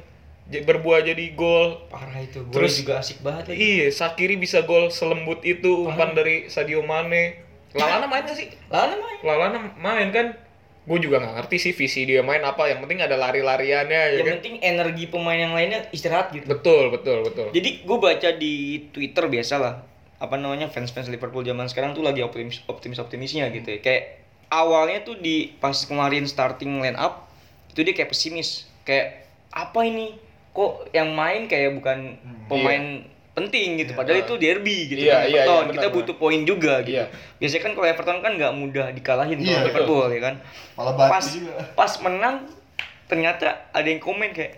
Speaker 3: j- berbuah jadi gol.
Speaker 1: Parah itu. Gue
Speaker 3: Terus-
Speaker 1: juga asik banget ya. lagi.
Speaker 3: Iya, Sakiri bisa gol selembut itu umpan dari Sadio Mane. Lalana main gak sih?
Speaker 1: Lalu main.
Speaker 3: Lalana main kan? Gue juga nggak ngerti sih visi dia main apa. Yang penting ada lari-lariannya ya
Speaker 1: Yang
Speaker 3: kan?
Speaker 1: penting energi pemain yang lainnya istirahat gitu.
Speaker 3: Betul, betul, betul.
Speaker 1: Jadi gue baca di Twitter biasa lah apa namanya fans-fans Liverpool zaman sekarang tuh lagi optimis optimis optimisnya gitu ya. Kayak awalnya tuh di pas kemarin starting line up itu dia kayak pesimis. Kayak apa ini? Kok yang main kayak bukan pemain penting gitu. Padahal itu derby gitu.
Speaker 4: Hmm, Iya,
Speaker 1: kan,
Speaker 4: iya, iya,
Speaker 1: Everton.
Speaker 4: benar,
Speaker 1: Kita
Speaker 4: benar.
Speaker 1: butuh poin juga gitu.
Speaker 4: Iya.
Speaker 1: Biasanya kan kalau Everton kan nggak mudah dikalahin
Speaker 2: Iya,
Speaker 1: kalau
Speaker 2: betul.
Speaker 1: Liverpool ya kan
Speaker 2: Malah
Speaker 1: pas
Speaker 2: batu juga.
Speaker 1: pas menang ternyata ada yang komen kayak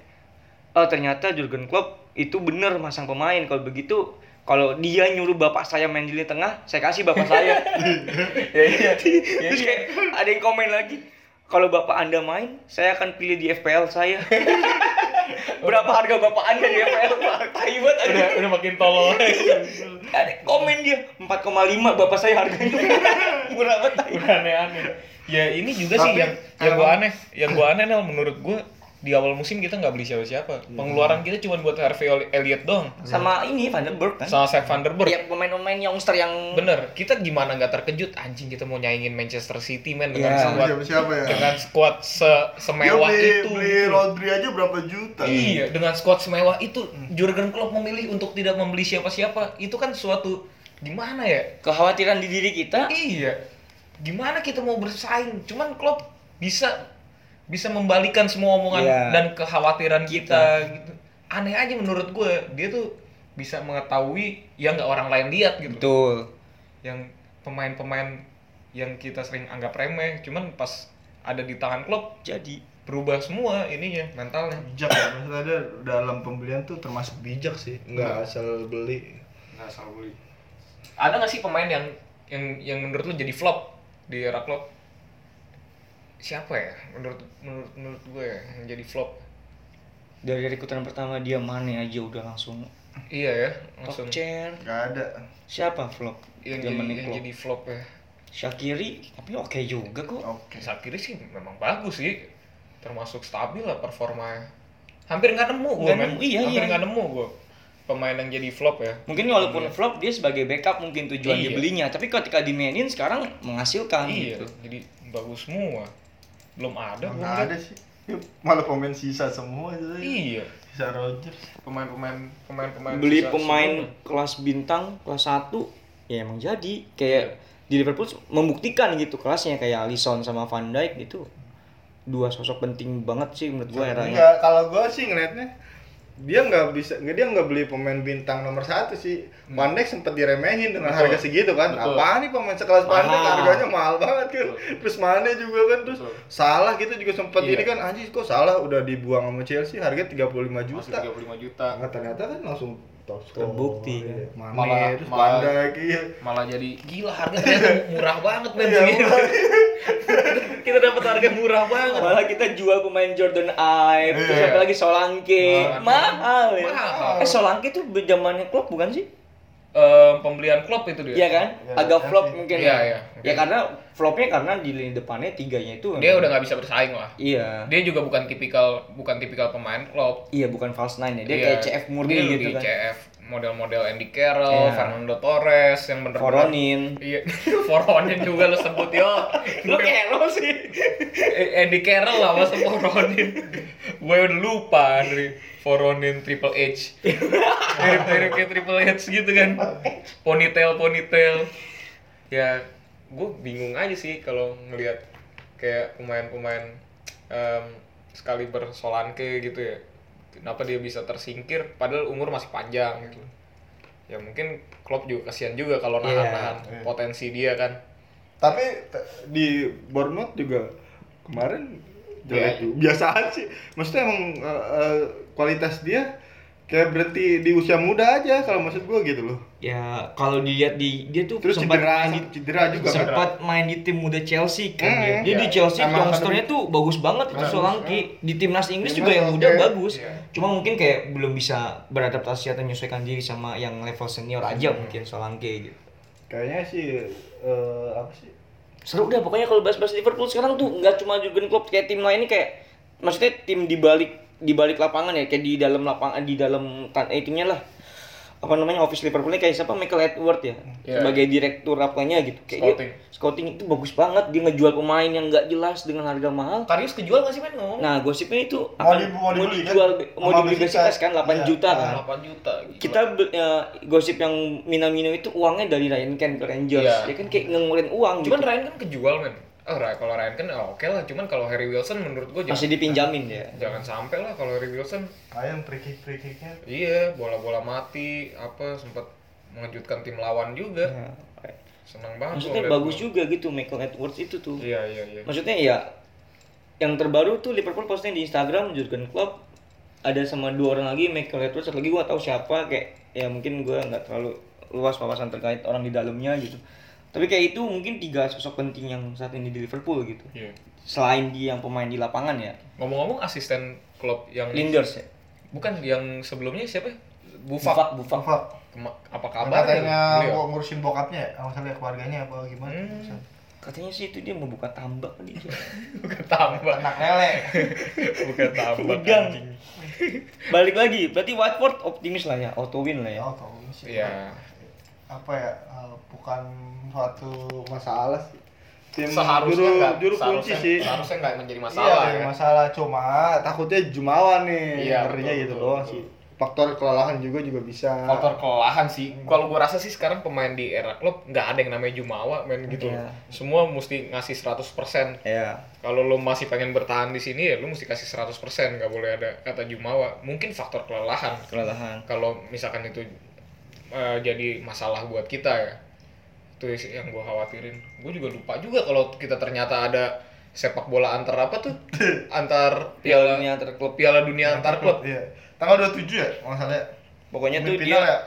Speaker 1: oh ternyata Jurgen Klopp itu bener masang pemain kalau begitu kalau dia nyuruh bapak saya main di lini tengah saya kasih bapak saya
Speaker 4: Ya iya.
Speaker 1: terus kayak ada yang komen lagi kalau bapak anda main saya akan pilih di FPL saya berapa harga bapak anda di FPL pak Tai banget ada
Speaker 3: Udah, udah makin tolol.
Speaker 1: ada yang komen dia 4,5 bapak saya harganya murah banget tai.
Speaker 3: udah aneh-aneh ya ini juga sih
Speaker 2: Tapi,
Speaker 3: yang yang
Speaker 2: kalau-
Speaker 3: gua aneh yang gua aneh Nel, menurut gua di awal musim kita nggak beli siapa-siapa pengeluaran kita cuma buat Harvey Oli- Elliott doang
Speaker 1: sama ini Vandenberg kan
Speaker 3: sama Seth Vanderberg
Speaker 1: ya pemain-pemain youngster yang
Speaker 3: bener kita gimana nggak terkejut anjing kita mau nyaingin Manchester City men dengan
Speaker 1: Iya.
Speaker 3: squad
Speaker 2: Siapa siapa ya?
Speaker 3: dengan squad se-
Speaker 2: Dia
Speaker 3: semewah
Speaker 2: beli,
Speaker 3: itu gitu.
Speaker 2: beli Rodri aja berapa juta?
Speaker 1: Hmm.
Speaker 3: Iya, dengan squad semewah itu Jurgen Klopp memilih untuk tidak membeli siapa-siapa. Itu kan suatu gimana ya?
Speaker 1: kekhawatiran di diri kita
Speaker 3: Iya. Gimana kita mau bersaing? Cuman Klopp bisa bisa membalikan semua omongan
Speaker 1: Iya.
Speaker 3: dan kekhawatiran kita. gitu. Aneh aja menurut gue. Dia tuh bisa mengetahui yang nggak orang lain lihat gitu.
Speaker 1: betul
Speaker 3: Yang pemain-pemain yang kita sering anggap remeh, cuman pas ada di tangan Klopp
Speaker 1: jadi
Speaker 3: berubah semua ininya mentalnya.
Speaker 2: Bijak ya, maksudnya dia dalam pembelian tuh termasuk bijak sih, nggak asal beli.
Speaker 4: Enggak asal beli.
Speaker 3: Ada nggak sih pemain yang yang yang menurut lu jadi flop di era Klopp? Siapa ya? Menurut menurut menurut gue ya, yang jadi flop.
Speaker 1: dari rekrutan pertama dia Mane aja udah langsung
Speaker 3: Iya ya,
Speaker 1: top
Speaker 3: langsung
Speaker 1: chair
Speaker 2: Nggak ada.
Speaker 1: siapa flop
Speaker 3: yang
Speaker 1: Dia
Speaker 3: jadi,
Speaker 1: Mane
Speaker 3: yang
Speaker 1: flop.
Speaker 3: jadi flop ya.
Speaker 1: Shakiri tapi oke juga kok
Speaker 2: Oke.
Speaker 3: Sakiri sih memang bagus sih, termasuk stabil lah performanya. Hampir nggak nemu gue,
Speaker 1: Nggak
Speaker 3: men.
Speaker 1: nemu, iya,
Speaker 3: hampir
Speaker 1: iya.
Speaker 3: nggak nemu gue. Pemain yang jadi flop ya.
Speaker 1: mungkin walaupun flop dia sebagai backup mungkin tujuan
Speaker 3: Iya.
Speaker 1: dibelinya tapi ketika dimainin sekarang menghasilkan
Speaker 3: iya,
Speaker 1: gitu
Speaker 3: jadi bagus semua. Belum ada. belum
Speaker 2: Nggak ada sih. Ya, Malah pemain sisa semua itu.
Speaker 3: Iya,
Speaker 2: Sisa Rogers.
Speaker 3: pemain-pemain pemain-pemain
Speaker 1: beli
Speaker 3: sisa
Speaker 1: pemain
Speaker 3: sebelumnya.
Speaker 1: kelas bintang kelas 1 ya emang jadi kayak
Speaker 3: Iya.
Speaker 1: di Liverpool membuktikan gitu kelasnya kayak Alisson sama Van Dijk gitu dua sosok penting banget sih menurut
Speaker 3: Iya.
Speaker 1: gua eranya
Speaker 2: Enggak, kalau gua sih ngelihatnya dia nggak bisa nggak dia nggak beli pemain bintang nomor satu sih Van Dijk sempet diremehin dengan
Speaker 3: Betul.
Speaker 2: harga segitu kan
Speaker 3: Betul.
Speaker 2: apaan nih pemain sekelas Van Dijk
Speaker 1: Mahal.
Speaker 2: harganya mahal banget kan terus Mane juga kan terus
Speaker 4: Betul.
Speaker 2: salah kita juga sempet
Speaker 3: Iya.
Speaker 2: ini kan anjir kok salah udah dibuang sama Chelsea harga 35
Speaker 4: Masuk
Speaker 2: juta
Speaker 4: 35 juta.
Speaker 2: nah, ternyata kan langsung top score.
Speaker 1: Terbukti.
Speaker 2: Iya. Mane
Speaker 4: Malah-
Speaker 2: terus Van
Speaker 4: malah-
Speaker 2: Dijk iya.
Speaker 4: Malah jadi
Speaker 3: Gila harganya murah banget men
Speaker 2: Iya,
Speaker 3: Gitu.
Speaker 2: murah.
Speaker 3: Kita dapat harga murah banget.
Speaker 1: malah kita jual pemain Jordan Ive terus
Speaker 4: Iya.
Speaker 1: apa lagi Solanke mahal ya
Speaker 3: Mahal.
Speaker 1: eh Solanke tuh zamannya Klopp bukan sih
Speaker 3: Em, pembelian klub itu
Speaker 1: Iya
Speaker 3: dia.
Speaker 1: kan
Speaker 2: Iya,
Speaker 1: agak
Speaker 2: iya
Speaker 1: flop
Speaker 2: sih.
Speaker 1: mungkin
Speaker 3: Iya,
Speaker 1: ya
Speaker 3: iya.
Speaker 1: ya karena flopnya karena di lini depannya tiganya itu
Speaker 3: Dia udah nggak bisa bersaing lah.
Speaker 1: iya
Speaker 3: Dia juga bukan tipikal bukan tipikal pemain klub.
Speaker 1: iya bukan false nine ya dia
Speaker 3: Iya.
Speaker 1: kayak CF murni
Speaker 3: Dia
Speaker 1: gitu
Speaker 3: lebih
Speaker 1: kan
Speaker 3: CF model-model Andy Carroll,
Speaker 1: Iya.
Speaker 3: Fernando Torres yang bener
Speaker 1: Voronin
Speaker 3: Iya, Voronin juga lo sebut yo.
Speaker 1: lu kayak lo sih
Speaker 3: Eh, Andy Carroll lah masa Voronin. Gue udah lupa dari Voronin Triple H. Mirip-mirip kayak Triple H gitu kan. Ponytail ponytail. Ya, gue bingung aja sih kalau ngelihat kayak pemain-pemain em, sekali bersolanke gitu ya. Kenapa dia bisa tersingkir padahal umur masih panjang gitu. Ya mungkin Klopp juga kasihan juga kalau nahan-nahan
Speaker 2: Iya.
Speaker 3: potensi dia kan.
Speaker 2: tapi t- di Bournemouth juga kemarin jelek
Speaker 3: Iya.
Speaker 2: juga. biasaan sih maksudnya emang eh, eh, kualitas dia kayak berhenti di usia muda aja kalau maksud gua gitu loh
Speaker 1: ya kalau dilihat di dia tuh
Speaker 2: terus
Speaker 1: sempat
Speaker 2: cedera
Speaker 1: main di
Speaker 2: cedera juga kan
Speaker 1: sempat main di tim muda Chelsea kan
Speaker 2: Hmm,
Speaker 1: dia. Dia di
Speaker 3: iya.
Speaker 1: Chelsea
Speaker 2: Emang
Speaker 1: youngsternya
Speaker 2: kadang-
Speaker 1: tuh bagus banget itu
Speaker 2: Bagus, ya.
Speaker 1: Solanke. Di timnas Inggris
Speaker 2: Timnas
Speaker 1: juga yang
Speaker 2: oke.
Speaker 1: muda bagus.
Speaker 3: Iya.
Speaker 1: Cuma mungkin kayak belum bisa beradaptasi atau menyesuaikan diri sama yang level senior aja mungkin Solanke gitu.
Speaker 2: Kayaknya sih eh, apa sih?
Speaker 1: seru dah pokoknya kalau bahas-bahas Liverpool sekarang tuh nggak cuma Jurgen Klopp kayak tim lain ini kayak maksudnya tim di balik di balik lapangan ya kayak di dalam lapangan di dalam tan eh, timnya lah apa namanya office Liverpool ini kayak siapa Michael Edward ya
Speaker 4: Iya.
Speaker 1: sebagai direktur apanya gitu kayak
Speaker 4: Scouting.
Speaker 1: dia scouting itu bagus banget dia ngejual pemain yang nggak jelas dengan harga mahal
Speaker 3: Karius kejual nggak sih men ngomong?
Speaker 1: nah gosipnya itu
Speaker 2: Mau
Speaker 1: akan-
Speaker 2: di- mau dibeli, kan?
Speaker 1: dijual mau
Speaker 2: Sama
Speaker 1: dibeli
Speaker 2: Besiktas.
Speaker 1: Besiktas kan 8
Speaker 2: Iya.
Speaker 1: juta kan
Speaker 3: 8 juta. gila.
Speaker 1: kita be- ya, gosip yang Minamino itu uangnya dari Ryan Kent ke Rangers
Speaker 3: Iya.
Speaker 1: ya kan kayak ngeluarin uang
Speaker 3: cuman
Speaker 1: gitu.
Speaker 3: Ryan kan kejual men. Oh, Ryan- kalau Ryan kan oh, oke lah, cuman kalau Harry Wilson menurut gua
Speaker 1: gitu. masih
Speaker 3: jangan
Speaker 1: dipinjamin ya
Speaker 3: jangan sampai lah kalau Harry Wilson
Speaker 2: Ayam free kick free kicknya.
Speaker 3: iya bola-bola mati apa sempat mengejutkan tim lawan juga. Senang banget.
Speaker 1: Iya, maksudnya
Speaker 3: gua liat
Speaker 1: bagus
Speaker 3: gua.
Speaker 1: juga gitu Michael Edwards itu tuh
Speaker 3: Iya, iya, iya.
Speaker 1: maksudnya ya yang terbaru tuh Liverpool posting di Instagram Jurgen Klopp ada sama dua orang lagi Michael Edwards satu lagi gua tahu siapa kayak ya mungkin gua nggak terlalu luas wawasan terkait orang di dalamnya gitu tapi kayak itu mungkin tiga sosok penting yang saat ini di Liverpool gitu
Speaker 3: Iya.
Speaker 1: selain dia yang pemain di lapangan ya
Speaker 3: Ngomong-ngomong asisten klub yang
Speaker 1: Linders ya
Speaker 3: bukan yang sebelumnya siapa? ya? Buffon.
Speaker 1: Bufak Bufak
Speaker 2: Fak.
Speaker 3: Kema- apa kabar?
Speaker 2: Katanya
Speaker 3: beliau?
Speaker 2: mau ngurusin bokapnya, ya? Apa misalnya keluarganya apa gimana?
Speaker 3: Hmm.
Speaker 1: katanya sih itu dia mau buka tambak tadi
Speaker 3: Bukan tambah,
Speaker 2: Anak lele.
Speaker 3: bukan tambah.
Speaker 1: Udang. balik lagi berarti Watford optimis lah ya auto win lah ya
Speaker 2: Oh, tahu sih.
Speaker 3: Iya.
Speaker 2: Apa ya? eh, bukan suatu masalah sih. Tim
Speaker 4: Seharusnya
Speaker 2: juru-
Speaker 4: nggak
Speaker 2: juru kunci
Speaker 4: seharusnya,
Speaker 2: sih.
Speaker 4: Seharusnya nggak menjadi
Speaker 2: Masalah,
Speaker 4: masalah.
Speaker 2: iya,
Speaker 4: ya.
Speaker 2: masalah cuma takutnya jumawa nih.
Speaker 4: Iya,
Speaker 2: Ngerinya
Speaker 4: betul,
Speaker 2: gitu
Speaker 4: betul,
Speaker 2: doang
Speaker 4: betul.
Speaker 2: sih. Faktor kelelahan juga juga bisa.
Speaker 4: Faktor kelelahan sih.
Speaker 3: Kalau gua rasa sih sekarang pemain di era klub nggak ada yang namanya jumawa main gitu.
Speaker 1: Iya.
Speaker 3: Semua mesti ngasih 100%.
Speaker 1: ya
Speaker 3: Kalau lo masih pengen bertahan di sini ya lo mesti kasih 100%, nggak boleh ada kata jumawa. Mungkin faktor kelelahan.
Speaker 1: kelelahan
Speaker 3: Kalau misalkan itu eh, jadi masalah buat kita ya. Itu sih yang gua khawatirin. Gua juga lupa juga kalau kita ternyata ada sepak bola antar apa tuh? Antar
Speaker 1: piala
Speaker 3: piala
Speaker 1: dunia antar klub
Speaker 3: piala dunia antar klub.
Speaker 2: Iya. Tanggal 27 ya masalahnya.
Speaker 1: pokoknya tuh
Speaker 2: Final
Speaker 1: dia
Speaker 2: ya.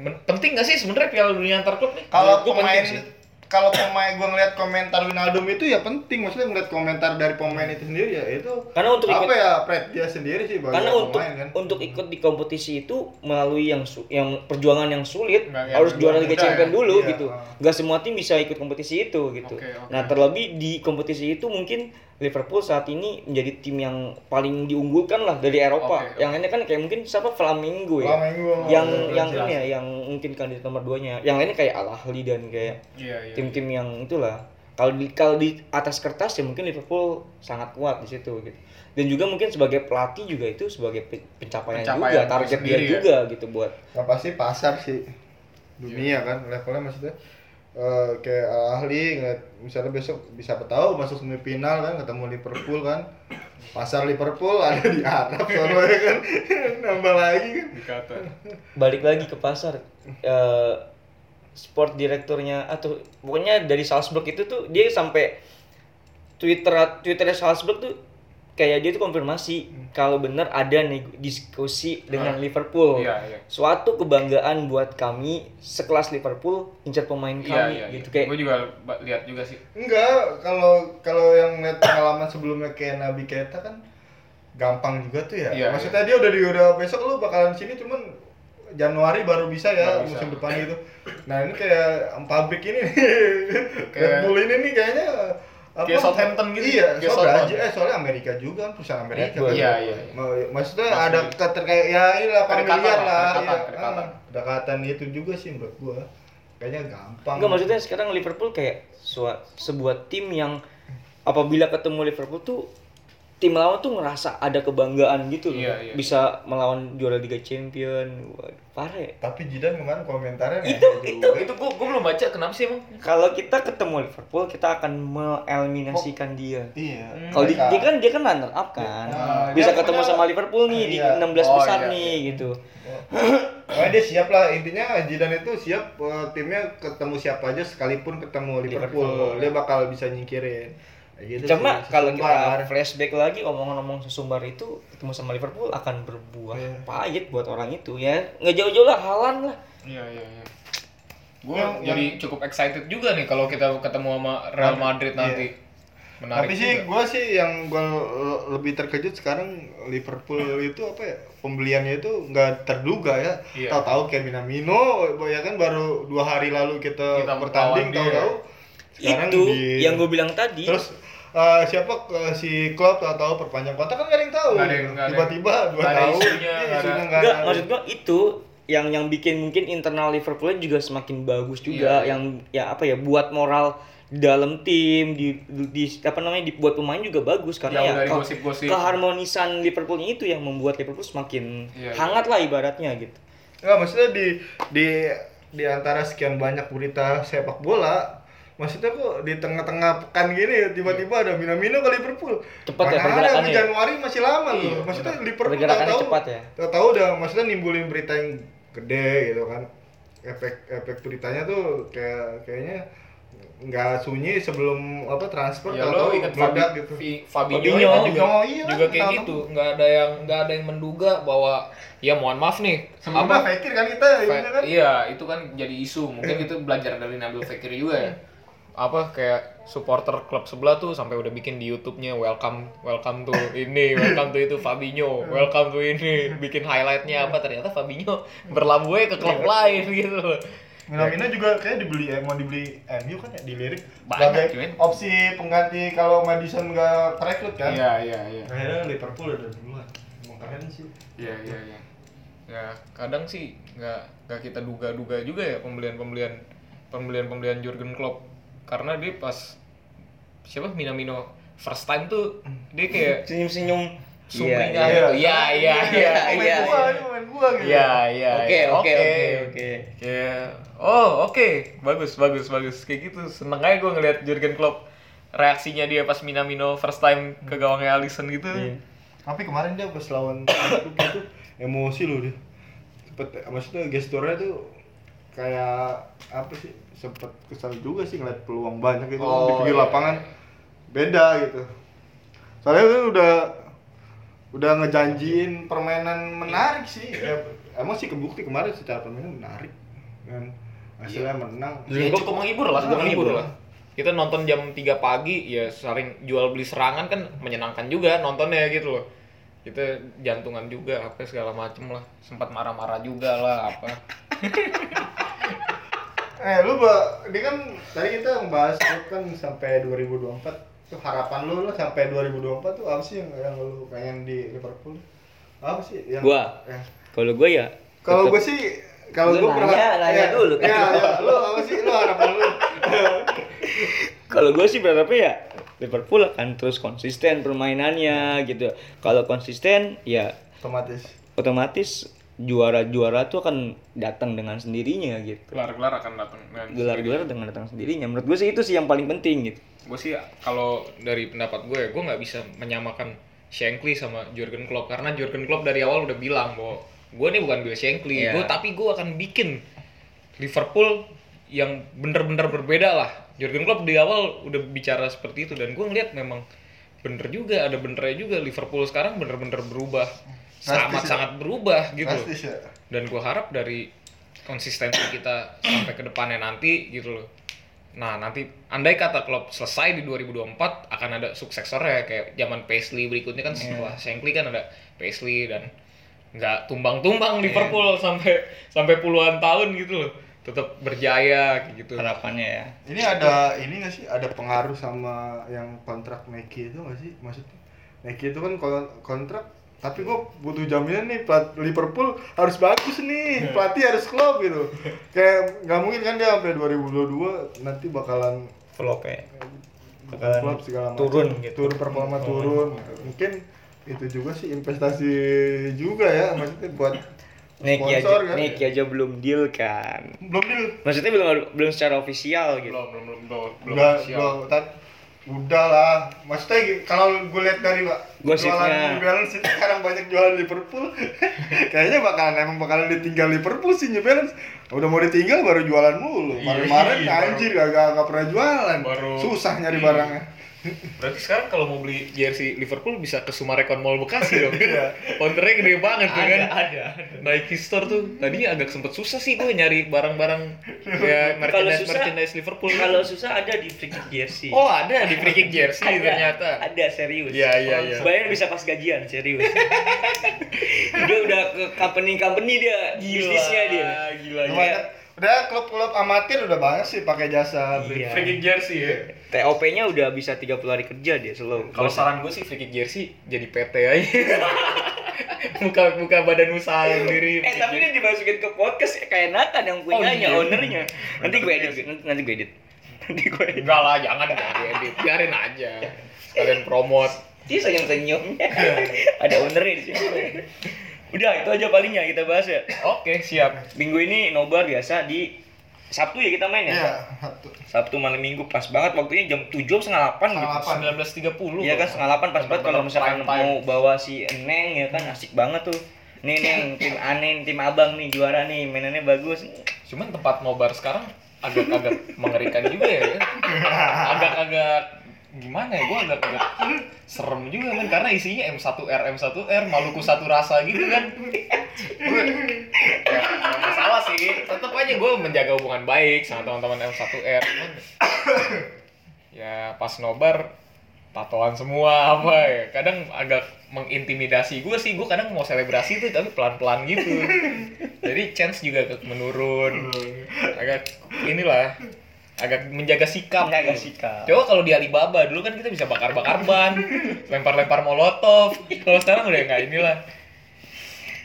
Speaker 3: Men- penting gak sih sebenarnya Piala Dunia antar klub nih?
Speaker 2: Kalau
Speaker 3: Menurut gua
Speaker 2: pemain
Speaker 3: penting sih.
Speaker 2: kalau pemain gua ngeliat komentar Winaldum itu ya penting maksudnya ngeliat komentar dari pemain itu sendiri ya itu
Speaker 1: Karena untuk
Speaker 2: apa
Speaker 1: ikut-
Speaker 2: ya Fred dia sendiri sih bagi
Speaker 1: karena untuk Oh,
Speaker 2: pemain kan
Speaker 1: untuk ikut di kompetisi itu melalui yang su- yang perjuangan yang sulit
Speaker 4: Nggak, ya,
Speaker 1: harus juara
Speaker 4: perjuangan
Speaker 1: Liga
Speaker 4: muda
Speaker 1: Champion
Speaker 4: ya.
Speaker 1: dulu
Speaker 2: Iya,
Speaker 1: gitu.
Speaker 2: ah.
Speaker 1: Nggak semua tim bisa ikut kompetisi itu gitu.
Speaker 4: Oke, oke.
Speaker 1: Nah, terlebih di kompetisi itu mungkin Liverpool saat ini menjadi tim yang paling diunggulkan lah dari Eropa.
Speaker 4: Oke, oke.
Speaker 1: Yang lainnya kan kayak mungkin siapa Flamingo ya.
Speaker 2: Flamengo. iya,
Speaker 1: yang
Speaker 2: Jelas.
Speaker 1: yang ini ya yang mungkin kandidat nomor 2-nya. Yang lainnya kayak Al Ahly dan kayak
Speaker 4: Iya, iya.
Speaker 1: tim-tim yang itulah kalau di kalau di atas kertas ya mungkin Liverpool sangat kuat di situ gitu dan juga mungkin sebagai pelatih juga itu sebagai pe- pencapaian, juga
Speaker 4: Pencapaian
Speaker 1: target dia
Speaker 4: sendiri ya.
Speaker 1: juga gitu buat
Speaker 2: yang pasti pasar sih dunia kan levelnya maksudnya eh, kayak Al ahli ngeliat misalnya besok bisa tahu masuk semifinal kan ketemu Liverpool kan pasar Liverpool ada di Arab soalnya kan nambah lagi kan
Speaker 4: Dikata.
Speaker 1: balik lagi ke pasar Eh, sport direkturnya atau pokoknya dari Salzburg itu tuh dia sampai Twitter Twitternya Salzburg tuh kayak dia tuh
Speaker 4: Hmm.
Speaker 1: konfirmasi kalau bener ada nego- diskusi dengan Liverpool
Speaker 4: Iya, iya.
Speaker 1: suatu kebanggaan buat kami sekelas Liverpool incar pemain kami
Speaker 4: Iya, iya.
Speaker 1: gitu kayak
Speaker 4: Gue juga ba- lihat juga sih.
Speaker 2: Enggak, kalau kalau yang lihat pengalaman sebelumnya kayak Nabi Keita kan gampang juga tuh ya.
Speaker 4: Iya,
Speaker 2: Maksudnya dia udah di udah besok lu bakalan sini cuman Januari baru bisa ya
Speaker 4: Baru bisa.
Speaker 2: musim depan gitu. Nah, ini kayak pabrik ini nih. Red
Speaker 4: Kayak-
Speaker 2: Bull ini nih kayaknya apa?
Speaker 4: Kayak Southampton gitu.
Speaker 2: Iya, soalnya
Speaker 4: Kayak Southampton.
Speaker 2: aja eh soalnya Amerika juga kan perusahaan Amerika.
Speaker 1: Red Bull.
Speaker 2: kan.
Speaker 4: Iya, iya, iya.
Speaker 2: Ma- Maksudnya
Speaker 4: Pasti.
Speaker 2: ada keterkait ya inilah
Speaker 4: Kedekatan
Speaker 2: familiar
Speaker 4: lah,
Speaker 2: lah.
Speaker 4: kedekatan,
Speaker 2: iya.
Speaker 4: kedekatan.
Speaker 2: Ah, kedekatan itu juga sih menurut gua. Kayaknya gampang.
Speaker 1: Enggak maksudnya sekarang Liverpool kayak sua- sebuah tim yang apabila ketemu Liverpool tuh tim lawan tuh ngerasa ada kebanggaan gitu loh.
Speaker 4: Iya, iya.
Speaker 1: Bisa melawan juara Liga Champion. Waduh, parah. ya.
Speaker 2: Tapi Jidan kemarin komentarnya
Speaker 1: Itu
Speaker 2: ngehek
Speaker 1: Iya, itu
Speaker 2: juga.
Speaker 3: Itu gua, gua belum baca kenapa sih emang?
Speaker 1: kalau kita ketemu Liverpool kita akan mengeliminasikan dia.
Speaker 2: Iya.
Speaker 1: Kalau di,
Speaker 2: mereka-
Speaker 1: dia kan dia kan runner up kan.
Speaker 2: Nah,
Speaker 1: Bisa
Speaker 2: dia
Speaker 1: ketemu
Speaker 2: punya-
Speaker 1: sama Liverpool nih
Speaker 2: Iya.
Speaker 1: di 16
Speaker 4: Oh,
Speaker 1: besar
Speaker 4: iya,
Speaker 1: nih gitu.
Speaker 2: Pokoknya "Oh, dia siap lah intinya Zidane itu siap eh, timnya ketemu siapa aja sekalipun ketemu Liverpool, dia bakal bisa nyingkirin. Ya gitu
Speaker 1: Cuma
Speaker 2: sih,
Speaker 1: kalau
Speaker 2: sesumbar.
Speaker 1: kita flashback lagi omongan-omongan sesumbar itu ketemu sama Liverpool akan berbuah
Speaker 2: Iya.
Speaker 1: pahit buat orang itu ya. Nggak jauh-jauh lah Halan lah.
Speaker 4: Iya, iya, iya. Gue
Speaker 2: Yang-
Speaker 4: jadi cukup excited juga nih kalau kita ketemu sama Real Madrid nanti.
Speaker 2: iya.
Speaker 4: Menarik
Speaker 2: Tapi sih
Speaker 4: juga.
Speaker 2: gue sih yang gue lebih terkejut sekarang Liverpool itu apa ya pembeliannya itu nggak terduga ya.
Speaker 4: Iya.
Speaker 2: Tahu-tahu kayak Minamino ya kan baru dua hari lalu kita,
Speaker 4: Kita
Speaker 2: bertanding
Speaker 4: melawan dia.
Speaker 2: tahu-tahu. Sekarang
Speaker 1: itu
Speaker 2: di-
Speaker 1: yang gue bilang tadi
Speaker 2: Iya. Terus eh, siapa eh, si Klopp tahu-tahu perpanjang kontrak kan nggak ada yang tahu.
Speaker 4: Nggak ada yang- nggak ada yang-
Speaker 2: Tiba-tiba dua
Speaker 4: nggak ada
Speaker 2: tahun
Speaker 4: isunya,
Speaker 2: iya,
Speaker 4: nggak ada-
Speaker 2: isunya nggak
Speaker 1: enggak
Speaker 2: ada.
Speaker 1: maksud gue itu yang yang bikin mungkin internal Liverpool juga semakin bagus juga
Speaker 2: Iya.
Speaker 1: yang ya apa ya buat moral di dalam tim di, di apa namanya dibuat pemain juga bagus karena
Speaker 4: Jauh
Speaker 1: ya
Speaker 4: dari
Speaker 1: ke-
Speaker 4: gosip-gosip.
Speaker 1: keharmonisan Liverpoolnya itu yang membuat Liverpool semakin
Speaker 4: Iya, iya.
Speaker 1: hangat lah ibaratnya gitu
Speaker 2: Nggak, maksudnya di di di antara sekian banyak berita sepak bola, maksudnya kok di tengah-tengah pekan gini tiba-tiba ada Minamino ke Liverpool.
Speaker 1: Iya. Cepat ya
Speaker 2: Mana ada,
Speaker 1: pergerakannya ya? Iya,
Speaker 2: Januari masih lama loh. Maksudnya Liverpool
Speaker 1: Pergerakannya
Speaker 2: tahu-tahu-
Speaker 1: cepat ya?
Speaker 2: Tahu-tahu udah maksudnya nimbulin berita yang gede gitu kan. Efek efek beritanya tuh kayak kayaknya nggak sunyi sebelum apa transfer
Speaker 3: Ya
Speaker 2: tahu-tahu
Speaker 3: lo inget
Speaker 2: meledak
Speaker 3: Fabi,
Speaker 2: gitu.
Speaker 3: Fi- Fabinho,
Speaker 1: Fabinho,
Speaker 3: kan juga,
Speaker 2: Fabinho, iya,
Speaker 3: juga kayak
Speaker 2: kenapa?
Speaker 3: gitu. Nggak ada yang nggak ada yang menduga bahwa ya mohon maaf nih.
Speaker 2: Sebelumnya
Speaker 3: apa-
Speaker 2: Fekir kan kita
Speaker 3: Fe-
Speaker 2: ini kan.
Speaker 3: Iya, itu kan jadi isu. Mungkin itu belajar dari Nabil Fekir juga ya. Apa kayak supporter klub sebelah tuh sampai udah bikin di YouTube-nya welcome welcome to ini, welcome to itu Fabinho, welcome to ini, bikin highlight-nya apa ternyata Fabinho berlambai ke klub lain gitu. loh.
Speaker 2: Minamino juga kayak dibeli eh, mau dibeli MU kan ya dilirik
Speaker 3: Banyak,
Speaker 2: sebagai
Speaker 3: cuy.
Speaker 2: opsi pengganti kalau Madison nggak terekrut kan.
Speaker 3: Iya, iya, iya.
Speaker 2: Akhirnya Liverpool udah duluan. Emang keren sih.
Speaker 3: Iya iya iya. Ya kadang sih nggak nggak kita duga-duga juga ya pembelian-pembelian pembelian-pembelian Jurgen Klopp karena dia pas siapa Minamino first time tuh dia kayak
Speaker 1: senyum senyum
Speaker 3: sumringah gitu. Iya iya iya
Speaker 2: Ini
Speaker 3: iya.
Speaker 2: Pemain gua, ini pemain gua gitu.
Speaker 3: Iya iya.
Speaker 1: oke
Speaker 3: iya.
Speaker 1: oke oke oke
Speaker 3: Ya, oh oke, bagus bagus bagus kayak gitu. Seneng aja gue ngeliat Jurgen Klopp reaksinya dia pas Minamino first time ke gawangnya Alisson gitu.
Speaker 2: Iya. Tapi kemarin dia pas lawan Liverpool itu emosi loh dia. Sempet maksudnya gesturnya tuh kayak apa sih? Sempet kesal juga sih ngeliat peluang banyak itu
Speaker 3: Oh,
Speaker 2: di pinggir
Speaker 3: iya.
Speaker 2: lapangan. Beda gitu. Soalnya itu udah udah ngejanjiin permainan menarik sih. Ya, emang sih kebukti kemarin secara permainan menarik. Kan hasilnya menang.
Speaker 3: Ya, cukup menghibur lah, cukup menghibur lah. Kita nonton jam 3 pagi, ya sering jual beli serangan kan menyenangkan juga nontonnya gitu loh. Kita jantungan juga, apa segala macem lah. Sempat marah-marah juga lah, apa.
Speaker 2: Eh lu ba, ini kan tadi kita ngebahas lu kan sampai 2024 tuh harapan lu lu sampai 2024 tuh apa sih yang, yang lu pengen di Liverpool? Apa sih yang
Speaker 1: Gua?
Speaker 2: Eh.
Speaker 1: kalau gue ya
Speaker 2: Kalau
Speaker 1: tetep-
Speaker 2: gue sih kalau
Speaker 1: Lu
Speaker 2: gue
Speaker 1: nanya, nanya dulu kan.
Speaker 2: Ya, ya, lu apa sih lu harapan lu?
Speaker 1: Kalau gue sih berharapnya ya Liverpool akan terus konsisten permainannya gitu. Kalau konsisten ya
Speaker 2: Otomatis.
Speaker 1: otomatis juara-juara tuh akan datang dengan sendirinya gitu.
Speaker 3: Gelar-gelar akan datang.
Speaker 1: Gelar-gelar dengan datang sendirinya. Menurut gue sih itu sih yang paling penting gitu.
Speaker 3: gue sih kalau dari pendapat gue gue nggak bisa menyamakan Shankly sama Jurgen Klopp karena Jurgen Klopp dari awal udah bilang bahwa gue nih bukan Bill Shankly
Speaker 1: Iya.
Speaker 3: gue tapi gue akan bikin Liverpool yang bener-bener berbeda lah Jurgen Klopp di awal udah bicara seperti itu dan gue ngeliat memang bener juga ada benernya juga Liverpool sekarang bener-bener berubah sangat sangat berubah gitu
Speaker 2: Pasti sih.
Speaker 3: dan gue harap dari konsistensi kita sampai ke depannya nanti gitu loh nah nanti andai kata Klopp selesai di 2024 akan ada suksesornya kayak zaman Paisley berikutnya kan setelah Shankly kan ada Paisley dan nggak tumbang-tumbang Liverpool sampai sampai puluhan tahun gitu loh tetap berjaya kayak gitu
Speaker 1: Harapannya ya.
Speaker 2: Ini ada ini nggak sih ada pengaruh sama yang kontrak Meki itu nggak sih? Maksudnya Meki itu kan kon- kontrak tapi gue butuh jaminan nih pelat- Liverpool harus bagus
Speaker 1: Hmm.
Speaker 2: nih pelatih harus klub gitu kayak nggak mungkin kan dia sampai 2022 nanti bakalan
Speaker 1: Flop ya.
Speaker 2: klub segala macam
Speaker 1: turun gitu.
Speaker 2: turun performa turun mungkin itu juga sih investasi juga ya maksudnya buat
Speaker 1: Neki aja,
Speaker 2: sponsor kan
Speaker 1: Neki aja belum deal kan.
Speaker 2: belum deal
Speaker 1: Maksudnya belum belum secara ofisial gitu.
Speaker 3: belum belum belum belum belum
Speaker 2: Udah,
Speaker 3: official.
Speaker 2: gua- tat- udah lah. Maksudnya gi- kalau gue lihat dari wa- jualan New
Speaker 1: gosipnya
Speaker 2: Balance itu sekarang banyak jualan Liverpool kayaknya bakalan emang bakalan ditinggal Liverpool sih New Balance udah mau ditinggal baru jualan mulu
Speaker 3: Iya,
Speaker 2: kemarin
Speaker 3: iya, baru-
Speaker 2: anjir gak, gak, gak pernah jualan
Speaker 3: Baru-
Speaker 2: susah nyari
Speaker 3: iya.
Speaker 2: barangnya
Speaker 3: Berarti sekarang kalau mau beli jersey Liverpool bisa ke Sumarekon Mall Bekasi dong.
Speaker 1: Iya.
Speaker 3: Counternya gede banget tuh kan.
Speaker 4: ada.
Speaker 3: Nike Store tuh tadinya agak sempet susah sih gue nyari barang-barang ya merchandise
Speaker 1: susah-
Speaker 3: merchandise Liverpool.
Speaker 1: kalau susah ada di free kick jersey
Speaker 3: oh ada di free kick
Speaker 1: Ada,
Speaker 3: jersey ternyata.
Speaker 1: ada serius
Speaker 3: Iya, iya, iya.
Speaker 1: bayar bisa pas gajian serius dia udah ke company company dia bisnisnya dia
Speaker 3: Gila
Speaker 2: Banyak. ya, udah klub-klub amatir udah banyak sih pakai jasa
Speaker 1: Iya.
Speaker 3: Free kick jersey ya.
Speaker 1: TOP-nya udah bisa 30 hari kerja dia selalu
Speaker 3: Kalau saran gue sih free kick jersey jadi PT aja. buka buka badan usaha sendiri.
Speaker 1: Eh tapi dia dimasukin ke podcast kayak Nathan
Speaker 3: Oh,
Speaker 1: yang punyanya,
Speaker 3: iya.
Speaker 1: ownernya. Nanti gue edit, nanti, nanti gue edit. Nanti gue edit.
Speaker 3: Enggak lah, jangan jangan diedit. Biarin aja. Sekalian promote.
Speaker 1: Dia senyum-senyum.
Speaker 3: Iya.
Speaker 1: Ada ownernya di sini. Udah, itu aja palingnya kita bahas ya.
Speaker 3: Oke, siap.
Speaker 1: Minggu ini nobar biasa di Sabtu ya kita main ya.
Speaker 2: iya satu
Speaker 1: Sabtu malam Minggu pas banget waktunya jam 7 setengah 8 gitu.
Speaker 2: Setengah
Speaker 3: 19.30.
Speaker 1: Iya kan setengah 8 pas banget kalau misalkan
Speaker 3: Prime time.
Speaker 1: mau bawa si Neng ya kan asik banget tuh. Nih Neng, tim Anen, tim Abang nih juara nih, mainannya bagus.
Speaker 3: Cuman tempat nobar sekarang agak-agak mengerikan juga ya. kan? Agak-agak gimana ya, gue agak-agak serem juga kan karena isinya M1R M1R Maluku satu rasa gitu kan. Gue ya, nggak masalah sih, tetap aja gue menjaga hubungan baik sama teman-teman M1R. Cuman, ya pas nobar tatoan semua apa ya kadang agak mengintimidasi gue sih gue kadang mau selebrasi tuh tapi pelan-pelan gitu jadi chance juga agak menurun agak inilah agak menjaga sikap
Speaker 1: Menjaga sikap.
Speaker 3: coba kalau di Alibaba dulu kan kita bisa bakar-bakar ban lempar-lempar molotov kalau sekarang udah nggak inilah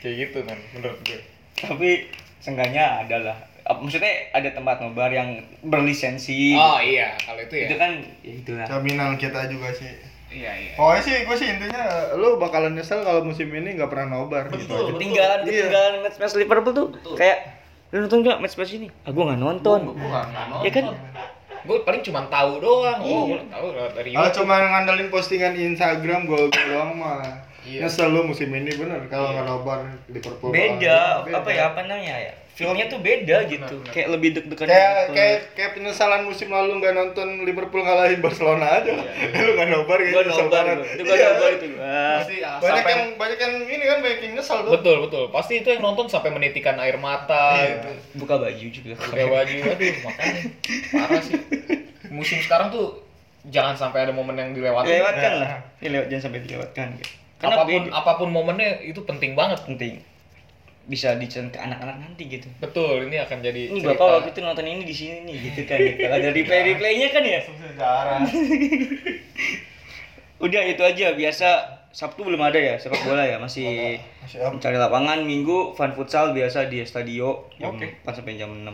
Speaker 3: kayak gitu kan menurut gue
Speaker 1: tapi seenggaknya adalah maksudnya ada tempat nobar yang berlisensi
Speaker 3: oh iya kalau itu ya
Speaker 1: itu kan ya itulah
Speaker 2: jaminan kita juga sih
Speaker 3: iya iya
Speaker 2: pokoknya sih gue sih intinya lu bakalan nyesel kalau musim ini nggak pernah nobar gitu aja.
Speaker 1: ketinggalan
Speaker 2: Iya.
Speaker 1: ketinggalan match match Liverpool tuh kayak lu nonton gak match match ini ah gua nggak nonton ya kan
Speaker 3: gue paling cuma tahu doang oh gue tahu lewat dari
Speaker 1: Iya,
Speaker 2: Kalau
Speaker 3: YouTube.
Speaker 2: cuma ngandelin postingan Instagram gol gol doang mah.
Speaker 3: Iya.
Speaker 2: Nyesel lu musim ini bener kalau nggak nobar
Speaker 1: Iya.
Speaker 2: Liverpool.
Speaker 1: beda
Speaker 2: bakalan-
Speaker 1: apa ya apa namanya ya filmnya tuh beda gitu kayak lebih deg-degan
Speaker 2: Kayak
Speaker 1: gitu.
Speaker 2: kayak kayak penyesalan musim lalu nggak nonton Liverpool ngalahin Barcelona aja. lu nggak nobar kayak
Speaker 1: Iya, gua
Speaker 2: nyesel
Speaker 1: nobar
Speaker 2: banget.
Speaker 1: gua. itu gua
Speaker 2: Iya.
Speaker 1: nobar itu gua
Speaker 3: Pasti, ah,
Speaker 2: Banyak
Speaker 3: sampai-
Speaker 2: yang banyak yang ini kan banyak yang nyesel tuh.
Speaker 3: betul betul pasti itu yang nonton sampai menitikan air mata gitu.
Speaker 1: buka baju juga
Speaker 3: pakai baju aduh makanya parah sih musim sekarang tuh jangan sampai ada momen yang dilewati
Speaker 1: dilewatkan lah dilewat jangan sampai dilewatkan gitu karena
Speaker 3: apapun
Speaker 1: beda.
Speaker 3: apapun momennya itu penting banget
Speaker 1: penting bisa dicen ke anak-anak nanti gitu
Speaker 3: betul ini akan jadi
Speaker 1: ini
Speaker 3: cerita.
Speaker 1: bapak waktu itu nonton ini di sini nih gitu kan gitu. ada replay replaynya kan ya
Speaker 2: Sejarah.
Speaker 1: udah itu aja biasa Sabtu belum ada ya sepak bola ya masih
Speaker 2: Masih up.
Speaker 1: mencari lapangan Minggu fun futsal biasa di Stadio jam 4 sampai jam 6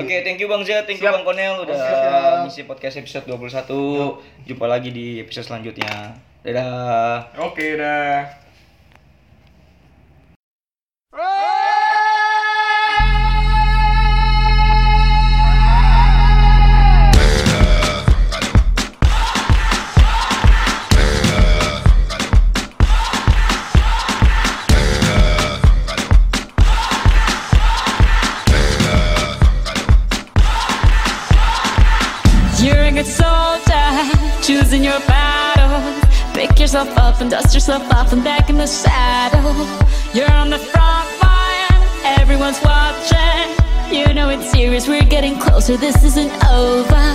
Speaker 1: Oke, thank you Bang Z, thank you Bang Konel udah
Speaker 2: Oke, siap.
Speaker 1: misi podcast episode 21. Jumpa lagi di episode selanjutnya. Dadah.
Speaker 4: Oke, dah.
Speaker 6: You're a good soldier, choosing your battle. Pick yourself up and dust yourself off and back in the saddle. You're on the front line, everyone's watching. You know it's serious, we're getting closer, this isn't over.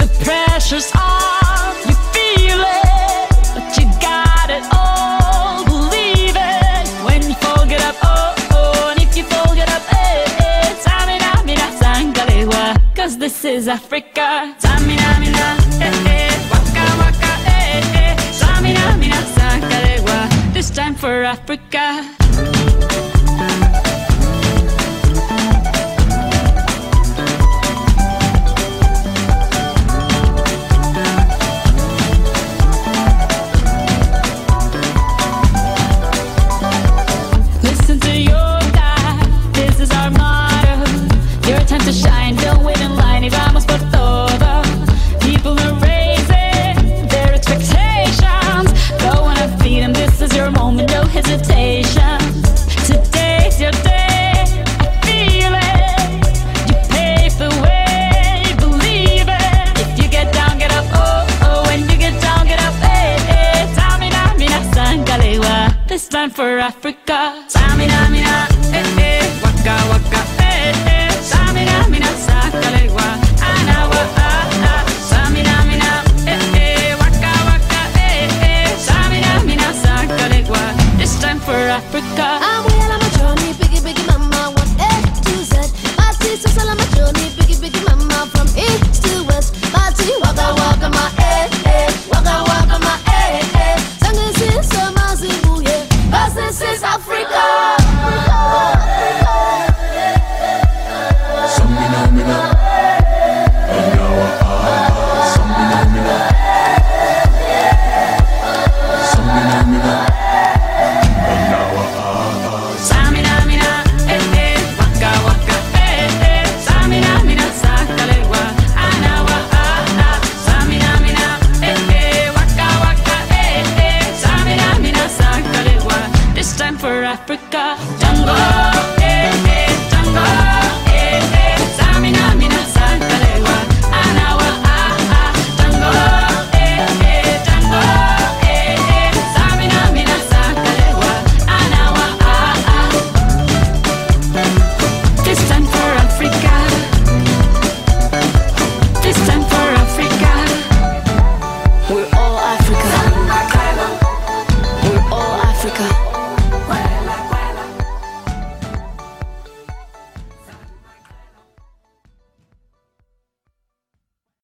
Speaker 6: The pressure's on, you feel it, but you got it all, believe it. When you fold it up, oh, oh, and if you fold it up, eh, eh, Tamina, mina, sangalewa, cause this is Africa. Tamina, mina, eh, eh, waka, waka, eh, eh, Tamina, mina, sangalewa, this time for Africa. Listen to your dad, this is our motto. Your time to shine, don't wait in line, y vamos por todo. People are raising their expectations. Go on a oh, Africa. Samina, mina, eh, eh, waka, waka, eh, eh. Samina, mina, sakalewa, anawa, ah, ah. Samina, mina, eh, eh, waka, waka, eh, eh. Samina, mina, sakalewa. It's time for Africa.
Speaker 7: I'm well, I'm a journey, biggie, biggie, mama, one A to Z. My sister, well, I'm a journey, biggie, biggie, mama, from east to west. My tea, waka, waka, my eh, eh, waka, waka, my eh, eh. Song is in summer, Zimbabwe. Cause this is Africa.
Speaker 6: Samina, mina, eh, eh, waka, waka, eh, eh. Samina, mina, sakalewa, anawa, ah, ah. Samina, mina, eh, eh, waka, waka, eh, eh. Samina, mina, sakalewa. This time for Africa, jungle. eh. eh,